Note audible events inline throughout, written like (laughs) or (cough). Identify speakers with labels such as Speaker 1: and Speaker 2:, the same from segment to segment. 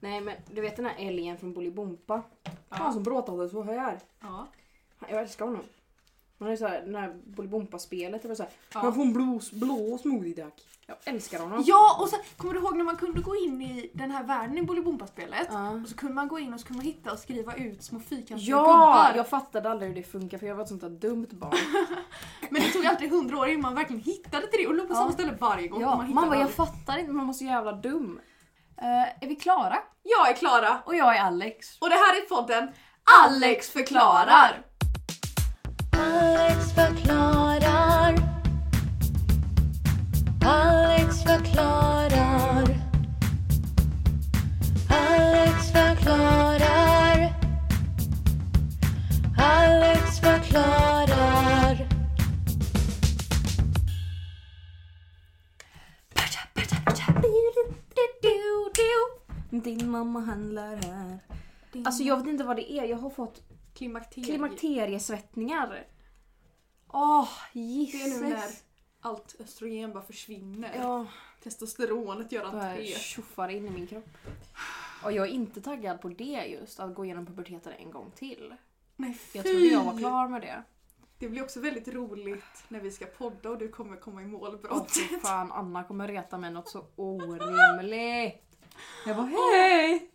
Speaker 1: Nej men du vet den här älgen från Bolibompa?
Speaker 2: Ja.
Speaker 1: Han som bråtade så här.
Speaker 2: Ja.
Speaker 1: Han- Jag älskar honom. Han är såhär, det här Bolibompa-spelet. Det var såhär,
Speaker 2: Ja.
Speaker 1: han får en blå, blå smoothie tack. Jag älskar honom.
Speaker 2: ja, och sen kommer du ihåg när man kunde gå in i den här världen i Bolibompa-spelet?
Speaker 1: Ja.
Speaker 2: Och så kunde man gå in och så kunde man hitta och skriva ut små fyrkantiga
Speaker 1: Ja!
Speaker 2: gubbar.
Speaker 1: Jag fattade aldrig hur det funkar för jag var ett sånt där dumt barn.
Speaker 2: Men det tog alltid hundra år innan man verkligen hittade till det och låg på
Speaker 1: Ja.
Speaker 2: samma ställe varje
Speaker 1: (laughs)
Speaker 2: gång.
Speaker 1: Ja,
Speaker 2: man hittade
Speaker 1: man bara, jag
Speaker 2: aldrig.
Speaker 1: fattar inte, man var så jävla dum.
Speaker 3: Eh, är vi klara?
Speaker 2: jag är Klara
Speaker 3: Och jag är Alex.
Speaker 2: och det här är podden Alex förklarar!
Speaker 4: Alex förklarar. Alex förklarar. Alex förklarar. Alex förklarar.
Speaker 1: Din mamma handlar här. Alltså jag vet inte vad det är, jag har fått
Speaker 2: Klimakterie.
Speaker 1: klimakteriesvettningar. Åh, oh,
Speaker 2: Det är
Speaker 1: jisses.
Speaker 2: nu när allt östrogen bara försvinner.
Speaker 1: Ja,
Speaker 2: Testosteronet gör
Speaker 1: bara
Speaker 2: entré.
Speaker 1: tjoffar in i min kropp. Och jag är inte taggad på det just, att gå igenom puberteten en gång till.
Speaker 2: Nej
Speaker 1: Jag
Speaker 2: fy!
Speaker 1: trodde jag var klar med det.
Speaker 2: Det blir också väldigt roligt när vi ska podda och du kommer komma i mål bra.
Speaker 1: Åh fy fan, Anna kommer reta mig något så orimligt. Jag bara hej!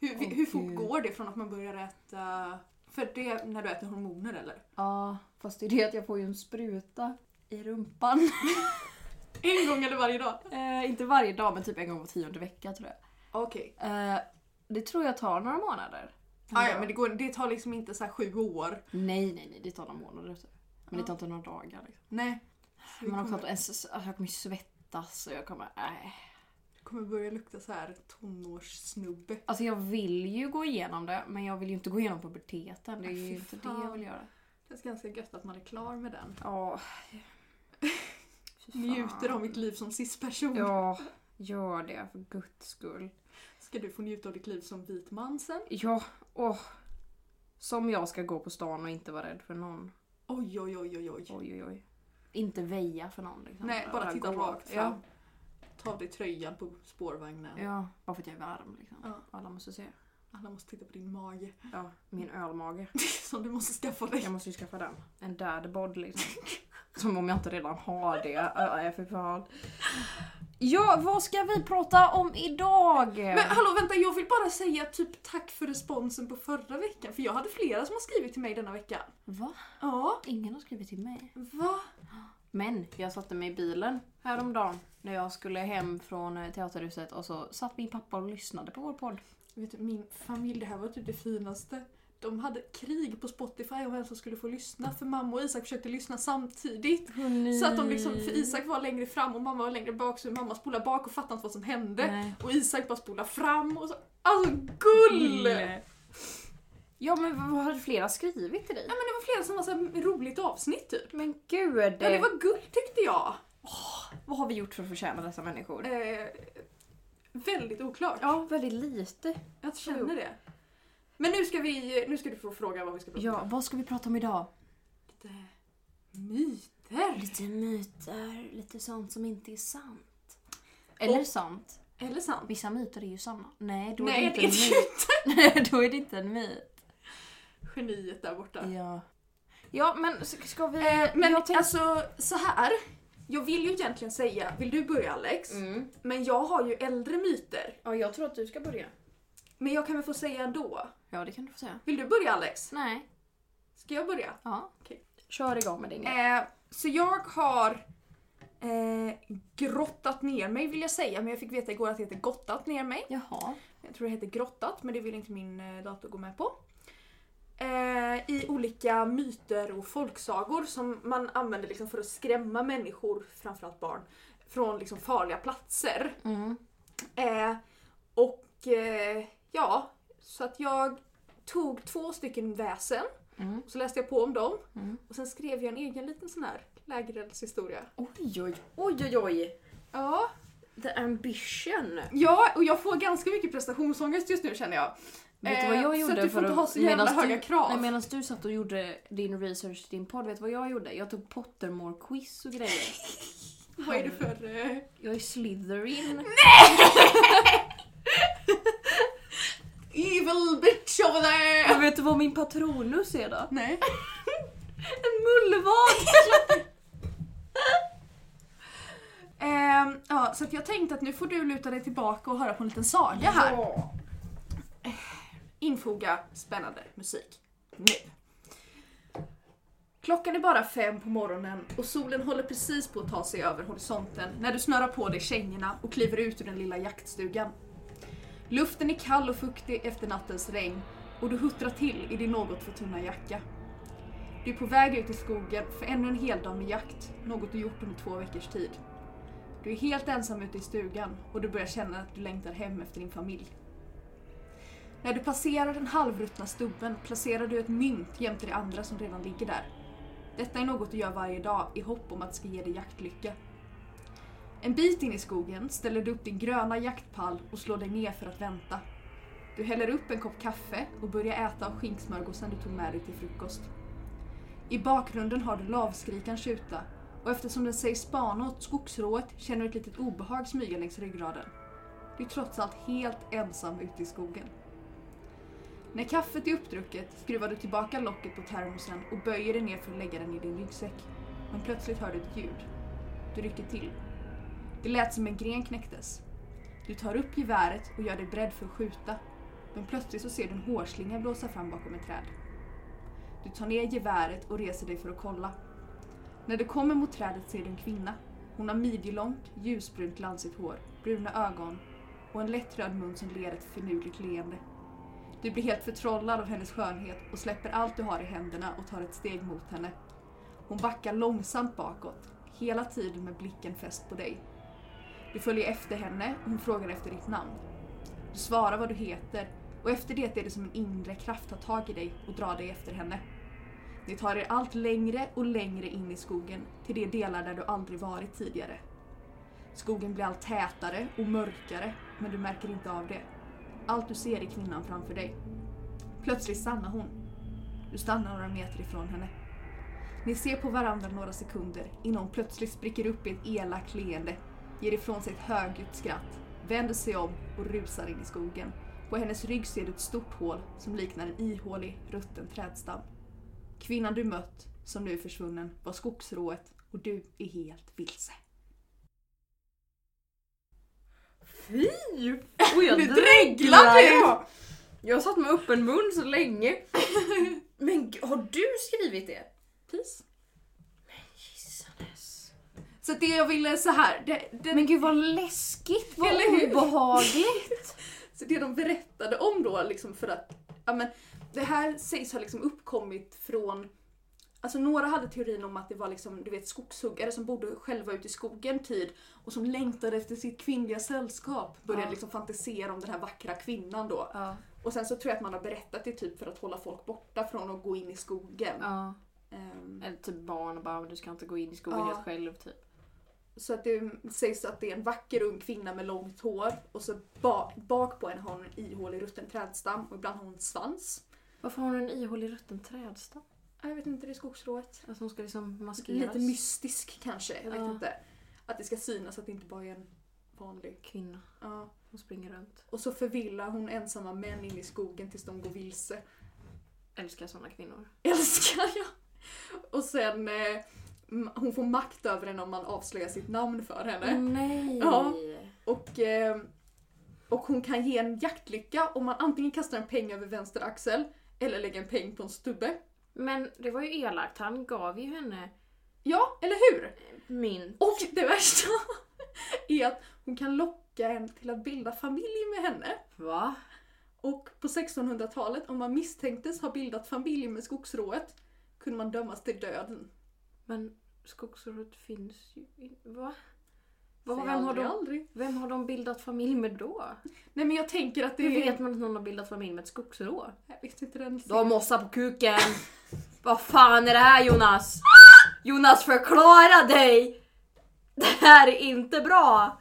Speaker 2: Hur,
Speaker 1: Åh,
Speaker 2: hur
Speaker 1: gud.
Speaker 2: fort går det från att man börjar äta... För det är när du äter hormoner eller?
Speaker 1: Ja, fast det är det att jag får ju en spruta i rumpan. (laughs)
Speaker 2: En gång eller varje dag?
Speaker 1: Eh, inte varje dag men typ en gång var tionde vecka tror jag.
Speaker 2: Okej.
Speaker 1: Eh, det tror jag tar några månader.
Speaker 2: Ah, ja, men det, går, det tar liksom inte så här sju år.
Speaker 1: Nej, nej, nej. Det tar några månader. Typ. Men det tar inte några dagar. Liksom.
Speaker 2: Nej. Vi
Speaker 1: Men också
Speaker 2: kommer,
Speaker 1: att ens, alltså, jag kommer ju svettas och jag kommer... Äh.
Speaker 2: kommer börja lukta så här tonårssnubbe.
Speaker 1: Alltså jag vill ju gå igenom det men jag vill ju inte gå igenom puberteten. Det är
Speaker 2: Nej,
Speaker 1: ju
Speaker 2: Äh,
Speaker 1: inte
Speaker 2: fy
Speaker 1: det
Speaker 2: fan.
Speaker 1: jag vill göra.
Speaker 2: Det är ganska gött att man är klar med den.
Speaker 1: (laughs) Ja.
Speaker 2: Njuter av mitt liv som cis-person.
Speaker 1: Ja, gör det för guds skull.
Speaker 2: Ska du få njuta av ditt liv som vit man sen?
Speaker 1: Ja, åh. Som jag ska gå på stan och inte vara rädd för någon.
Speaker 2: Oj, oj, oj, oj, oj.
Speaker 1: Oj, oj, oj. Inte väja för någon. Liksom.
Speaker 2: Nej, bara titta
Speaker 1: gå.
Speaker 2: rakt
Speaker 1: Ja.
Speaker 2: fram. Ta av dig tröjan på spårvagnen.
Speaker 1: Ja, bara för att jag är varm liksom.
Speaker 2: Ja.
Speaker 1: Alla måste se.
Speaker 2: Alla måste titta på din mage (laughs)
Speaker 1: Ja, min ölmage.
Speaker 2: som du måste skaffa dig.
Speaker 1: Jag måste ju skaffa den. En dad bod liksom. (laughs) Som om jag inte redan har det. Ja, ja, för fan. Ja, vad ska vi prata om idag?
Speaker 2: Men hallå vänta, jag vill bara säga typ tack för responsen på förra veckan. För jag hade flera som har skrivit till mig denna veckan.
Speaker 1: Va?
Speaker 2: Ja,
Speaker 1: Ingen har skrivit till mig.
Speaker 2: va?
Speaker 1: Men jag satte mig i bilen häromdagen när jag skulle hem från eh, teaterhuset och så satt min pappa och lyssnade på vår podd.
Speaker 2: Vet du, min familj, det här var typ det finaste. De hade krig på Spotify om vem som skulle få lyssna för mamma och Isak försökte lyssna samtidigt. Så att de liksom, för Isak var längre fram och mamma var längre bak så mamma spolade bak och fattade inte vad som hände.
Speaker 1: Nej.
Speaker 2: Och Isak bara spolade fram och så. Alltså gull!
Speaker 1: Gull. Mm. Ja men vad har flera skrivit till dig?
Speaker 2: Ja men det var flera som var så här roligt avsnitt typ.
Speaker 1: Men gud!
Speaker 2: Ja det var gull tyckte jag.
Speaker 1: Vad har vi gjort för att förtjäna dessa människor?
Speaker 2: Eh, väldigt oklart.
Speaker 1: Ja, väldigt lite.
Speaker 2: Jag känner det. Men nu ska, vi, nu ska du få fråga vad vi ska prata om.
Speaker 1: Ja, vad ska vi prata om idag?
Speaker 2: Lite myter.
Speaker 1: Lite myter, lite sånt som inte är sant. Eller sant.
Speaker 2: Eller sant?
Speaker 1: Vissa myter är ju sanna. Nej, då
Speaker 2: Nej,
Speaker 1: är det
Speaker 2: det är
Speaker 1: inte en myt. (laughs) Nej, då är det inte en myt.
Speaker 2: Geniet där borta.
Speaker 1: Ja. Ja, men s- ska vi...
Speaker 2: Eh, men
Speaker 1: jag tänk-
Speaker 2: alltså så här. Jag vill ju egentligen säga, vill du börja Alex?
Speaker 1: Mm.
Speaker 2: Men jag har ju äldre myter.
Speaker 1: Ja, jag tror att du ska börja.
Speaker 2: Men jag kan väl få säga ändå.
Speaker 1: Ja, det kan du få säga.
Speaker 2: Vill du börja Alex?
Speaker 1: Nej.
Speaker 2: Ska jag börja?
Speaker 1: Ja.
Speaker 2: Okej.
Speaker 1: Kör igång med din. grej.
Speaker 2: Eh, så jag har eh, grottat ner mig vill jag säga, men jag fick veta igår att det heter gottat ner mig.
Speaker 1: Jaha.
Speaker 2: Jag tror det heter grottat, men det vill inte min eh, dator gå med på. Eh, I olika myter och folksagor som man använder liksom för att skrämma människor, framförallt barn, från liksom farliga platser.
Speaker 1: Mm.
Speaker 2: Eh, och eh, ja, så att jag tog två stycken väsen
Speaker 1: Mm.
Speaker 2: och så läste jag på om dem.
Speaker 1: Mm.
Speaker 2: Och sen skrev jag en egen liten sån här lägereldshistoria.
Speaker 1: Oj, oj, oj, oj, oj.
Speaker 2: Ja.
Speaker 1: The ambition.
Speaker 2: ja, och jag får ganska mycket prestationsångest just nu känner jag.
Speaker 1: Vet du vad jag
Speaker 2: Eh,
Speaker 1: gjorde
Speaker 2: så att
Speaker 1: för
Speaker 2: du får inte
Speaker 1: att-
Speaker 2: ha så jävla
Speaker 1: medans
Speaker 2: höga
Speaker 1: du,
Speaker 2: krav.
Speaker 1: Nej, medan du satt och gjorde din research till din podd, vet du vad jag gjorde? Jag tog Pottermore-quiz och grejer.
Speaker 2: Vad är det för... eh,
Speaker 1: Jag är Slytherin. vet du vad min patronus är då?
Speaker 2: Nej.
Speaker 1: En (laughs) mullvad!
Speaker 2: Ehm, ja, så att jag tänkte att nu får du luta dig tillbaka och höra på en liten saga här.
Speaker 1: Ja.
Speaker 2: Infoga spännande musik. Nu. Klockan är bara fem på morgonen och solen håller precis på att ta sig över horisonten när du snörar på dig kängorna och kliver ut ur den lilla jaktstugan. Luften är kall och fuktig efter nattens regn och du huttrar till i din något för tunna jacka. Du är på väg ut i skogen för ännu en hel dag med jakt, något du gjort under två veckors tid. Du är helt ensam ute i stugan och du börjar känna att du längtar hem efter din familj. När du passerar den halvruttna stubben placerar du ett mynt jämte det andra som redan ligger där. Detta är något du gör varje dag i hopp om att det ska ge dig jaktlycka. En bit in i skogen ställer du upp din gröna jaktpall och slår dig ner för att vänta. Du häller upp en kopp kaffe och börjar äta av skinksmörgåsen du tog med dig till frukost. I bakgrunden har du lavskrikan tjuta och eftersom den sägs spana åt skogsrået känner du ett litet obehag smyga längs ryggraden. Du är trots allt helt ensam ute i skogen. När kaffet är uppdrucket skruvar du tillbaka locket på termosen och böjer dig ner för att lägga den i din ryggsäck. Men plötsligt hör du ett ljud. Du rycker till. Det lät som en gren knäcktes. Du tar upp geväret och gör dig beredd för att skjuta. Men plötsligt så ser du en hårslinga blåsa fram bakom ett träd. Du tar ner geväret och reser dig för att kolla. När du kommer mot trädet ser du en kvinna. Hon har midjelångt, ljusbrunt glansigt hår, bruna ögon och en lätt röd mun som ler ett finurligt leende. Du blir helt förtrollad av hennes skönhet och släpper allt du har i händerna och tar ett steg mot henne. Hon backar långsamt bakåt, hela tiden med blicken fäst på dig. Du följer efter henne och hon frågar efter ditt namn. Du svarar vad du heter och efter det är det som en inre kraft tar tag i dig och drar dig efter henne. Ni tar er allt längre och längre in i skogen till de delar där du aldrig varit tidigare. Skogen blir allt tätare och mörkare men du märker inte av det. Allt du ser är kvinnan framför dig. Plötsligt stannar hon. Du stannar några meter ifrån henne. Ni ser på varandra några sekunder innan hon plötsligt spricker upp i ett elakt leende, ger ifrån sig ett högljutt skratt, vänder sig om och rusar in i skogen. På hennes rygg ser du ett stort hål som liknar en ihålig, rutten trädstam. Kvinnan du mött, som nu är försvunnen, var skogsrået och du är helt vilse.
Speaker 1: Fy! Och jag
Speaker 2: Nu dreglar du!
Speaker 1: jag. Jag satt med öppen mun så (laughs) länge. Men g- har du skrivit det?
Speaker 2: Peace.
Speaker 1: Jesus.
Speaker 2: Så det jag ville så här, det, det,
Speaker 1: Men gud vad läskigt, vad
Speaker 2: Eller hur?
Speaker 1: obehagligt.
Speaker 2: Så det de berättade om då, liksom för att ja, men, det här sägs ha liksom uppkommit från Alltså några hade teorin om att det var liksom, du vet, skogshuggare som bodde själva ute i skogen tid och som längtade efter sitt kvinnliga sällskap. Började
Speaker 1: Ja.
Speaker 2: liksom fantisera om den här vackra kvinnan då.
Speaker 1: ja,
Speaker 2: Och sen så tror jag att man har berättat det typ för att hålla folk borta från att gå in i skogen.
Speaker 1: ja.
Speaker 2: Ehm,
Speaker 1: Eller typ barn och bara du ska inte gå in i skogen
Speaker 2: Ja.
Speaker 1: helt själv typ.
Speaker 2: Så att det sägs att det är en vacker ung kvinna med långt hår och så ba- bak på henne har hon en ihålig rutten trädstam och ibland har hon en svans.
Speaker 1: Varför har hon en ihålig rutten trädstam?
Speaker 2: Jag vet inte, det är skogsrået.
Speaker 1: Alltså hon ska liksom maskeras.
Speaker 2: Lite mystisk kanske, jag vet
Speaker 1: Ja.
Speaker 2: inte. Att det ska synas att det inte bara är en vanlig.
Speaker 1: Kvinna.
Speaker 2: Ja.
Speaker 1: Hon springer runt.
Speaker 2: Och så förvillar hon ensamma män in i skogen tills de går vilse. (laughs)
Speaker 1: Älskar såna kvinnor.
Speaker 2: Älskar jag! Och sen, eh, m- hon får makt över henne om man avslöjar sitt namn för henne.
Speaker 1: Åh, Mm, nej!
Speaker 2: Ja. Och, eh, och hon kan ge en jaktlycka om man antingen kastar en peng över vänster axel eller lägger en peng på en stubbe.
Speaker 1: Men det var ju elakt, han gav ju henne
Speaker 2: Ja, eller hur?
Speaker 1: min.
Speaker 2: Och det värsta (laughs) är att hon kan locka en till att bilda familj med henne.
Speaker 1: Va?
Speaker 2: Och på 1600-talet, om man misstänktes ha bildat familj med skogsrået, kunde man dömas till döden.
Speaker 1: Men skogsrået finns ju inte. Va?
Speaker 2: Säg
Speaker 1: Vad, vem, har
Speaker 2: aldrig,
Speaker 1: de,
Speaker 2: aldrig.
Speaker 1: vem har de bildat familj med då?
Speaker 2: Nej men jag tänker att det
Speaker 1: Hur
Speaker 2: är...
Speaker 1: vet man att någon har bildat familj med ett skogsrå?
Speaker 2: Jag vet inte den... (laughs)
Speaker 1: Du har mossa på kuken! Vad fan är det här Jonas? Jonas förklara dig! Det här är inte bra!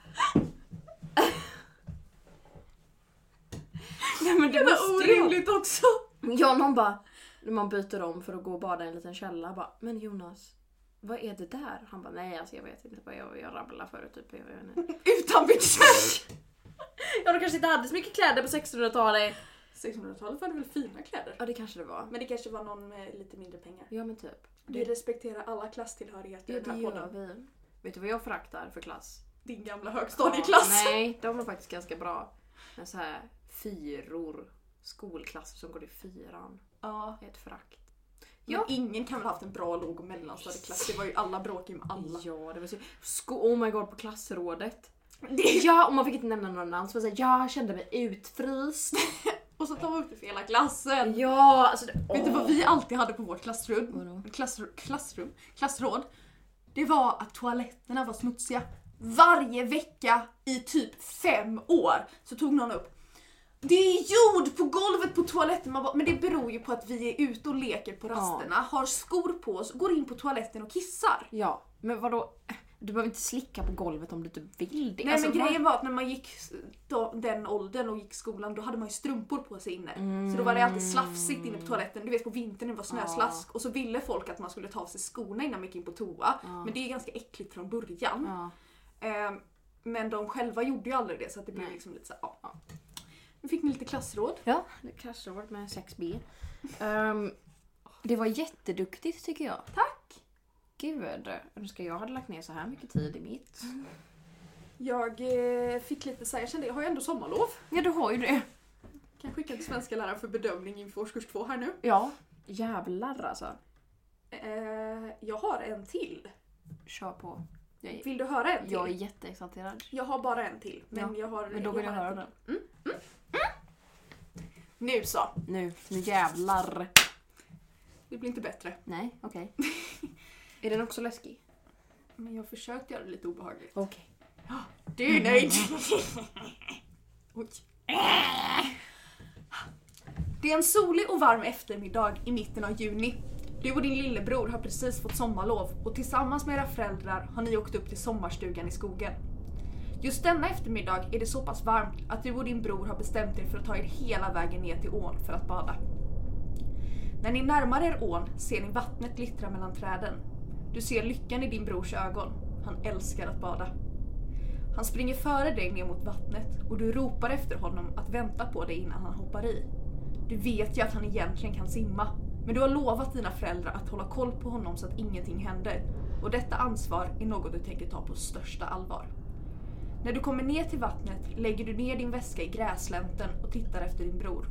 Speaker 1: Nej men det
Speaker 2: Det
Speaker 1: måste
Speaker 2: var
Speaker 1: ju
Speaker 2: orimligt också!
Speaker 1: Ja, någon bara... När man byter om för att gå och bada i en liten källa. Bara, men Jonas, vad är det där? Han bara, nej alltså jag vet inte. Bara, jag, jag rabblade förut typ. Jag, (laughs) jag, vet inte."
Speaker 2: Utan byxor!
Speaker 1: ja, de kanske inte hade så mycket kläder på 1600-talet.
Speaker 2: 1600-talet var det väl fina kläder?
Speaker 1: Ja det kanske det var.
Speaker 2: Men det kanske var någon med lite mindre pengar.
Speaker 1: Ja men typ.
Speaker 2: Vi respekterar alla klasstillhörigheter i
Speaker 1: Ja,
Speaker 2: den
Speaker 1: det
Speaker 2: här
Speaker 1: gör
Speaker 2: podden.
Speaker 1: vi. Vet du vad jag föraktar för klass?
Speaker 2: Din gamla högstadieklass. (laughs)
Speaker 1: Ja, nej, de är faktiskt ganska bra. Men så här fyror. Skolklasser som går i fyran.
Speaker 2: Ja.
Speaker 1: Det är ett förakt.
Speaker 2: Men ingen kan väl ha haft en bra låg och mellanstadieklass? Det var ju alla bråk med alla.
Speaker 1: Ja, det var så... Sko- oh my god, på klassrådet.
Speaker 2: (laughs) Det-
Speaker 1: Ja, och man fick inte nämna några namn så man säger jag kände mig utfryst.
Speaker 2: Och så tar man upp det för hela klassen.
Speaker 1: (laughs) Ja, alltså det...
Speaker 2: Vet du vad vi alltid hade på vårt klassrum?
Speaker 1: Vadå?
Speaker 2: Klassr klassrum? Klassråd? Det var att toaletterna var smutsiga. Varje vecka i typ fem år så tog någon upp det är jord på golvet på toaletten. Man bara, men det beror ju på att vi är ute och leker på rasterna, har skor på oss, går in på toaletten och kissar.
Speaker 1: Ja, men vadå? Du behöver inte slicka på golvet om du inte vill det.
Speaker 2: Nej
Speaker 1: Alltså,
Speaker 2: men
Speaker 1: man-
Speaker 2: grejen var att när man gick s- då, den åldern och gick skolan då hade man ju strumpor på sig inne. Så då var det alltid slafsigt inne på toaletten. Du vet på vintern när det var snöslask och så ville folk att man skulle ta av sig skorna innan man gick in på toa. Men det är ganska äckligt från början.
Speaker 1: Ja.
Speaker 2: Ehm, men de själva gjorde ju aldrig det så att det blev
Speaker 1: Nej.
Speaker 2: liksom lite såhär, ja. Nu fick ni lite klassråd.
Speaker 1: Ja, det kanske har varit med 6B. Ehm, det var jätteduktigt tycker jag.
Speaker 2: Tack!
Speaker 1: Gud, önskar jag hade lagt ner så här mycket tid i mitt.
Speaker 2: Jag eh, fick lite såhär, jag kände jag har ju ändå sommarlov.
Speaker 1: Ja, du har ju det.
Speaker 2: Kan skicka till svenska läraren för bedömning inför årskurs två här nu.
Speaker 1: Ja. Jävlar alltså.
Speaker 2: Ehm, jag har en till.
Speaker 1: Kör på. Jag är,
Speaker 2: Vill du höra en till?
Speaker 1: jag är jätteexalterad.
Speaker 2: Jag har bara en till. Men
Speaker 1: Ja,
Speaker 2: jag har...
Speaker 1: Men då vill jag
Speaker 2: har en
Speaker 1: höra
Speaker 2: till.
Speaker 1: den.
Speaker 2: Nu så.
Speaker 1: Nu, nu jävlar.
Speaker 2: Det blir inte bättre.
Speaker 1: Nej, okej. (laughs) är den också läskig?
Speaker 2: Men jag har försökt göra det lite obehagligt.
Speaker 1: Okej.
Speaker 2: Du är nöjd! (laughs) Oj. Det är en solig och varm eftermiddag i mitten av juni. Du och din lillebror har precis fått sommarlov och tillsammans med era föräldrar har ni åkt upp till sommarstugan i skogen. Just denna eftermiddag är det så pass varmt att du och din bror har bestämt er för att ta er hela vägen ner till ån för att bada. När ni närmar er ån ser ni vattnet glittra mellan träden. Du ser lyckan i din brors ögon. Han älskar att bada. Han springer före dig ner mot vattnet och du ropar efter honom att vänta på dig innan han hoppar i. Du vet ju att han egentligen kan simma, men du har lovat dina föräldrar att hålla koll på honom så att ingenting händer. Och detta ansvar är något du tänker ta på största allvar. När du kommer ner till vattnet lägger du ner din väska i gräslänten och tittar efter din bror.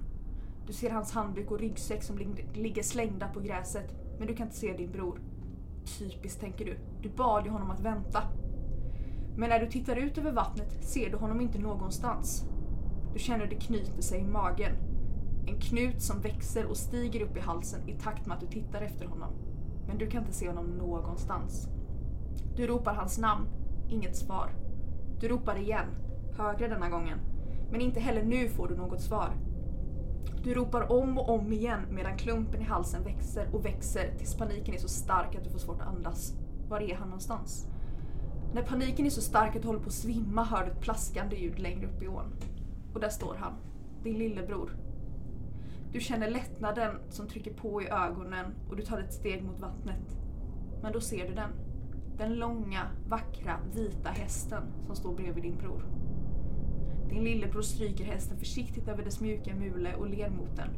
Speaker 2: Du ser hans handduk och ryggsäck som lig- ligger slängda på gräset, men du kan inte se din bror. Typiskt tänker du. Du bad ju honom att vänta. Men när du tittar ut över vattnet ser du honom inte någonstans. Du känner det knyter sig i magen. En knut som växer och stiger upp i halsen i takt med att du tittar efter honom. Men du kan inte se honom någonstans. Du ropar hans namn, inget svar. Du ropar igen, högre denna gången. Men inte heller nu får du något svar. Du ropar om och om igen medan klumpen i halsen växer och växer tills paniken är så stark att du får svårt att andas. Var är han någonstans? När paniken är så stark att du håller på att svimma hör du ett plaskande ljud längre upp i ån. Och där står han, din lillebror. Du känner lättnaden som trycker på i ögonen och du tar ett steg mot vattnet. Men då ser du den. Den långa, vackra, vita hästen som står bredvid din bror. Din lillebror stryker hästen försiktigt över dess mjuka mule och ler mot den.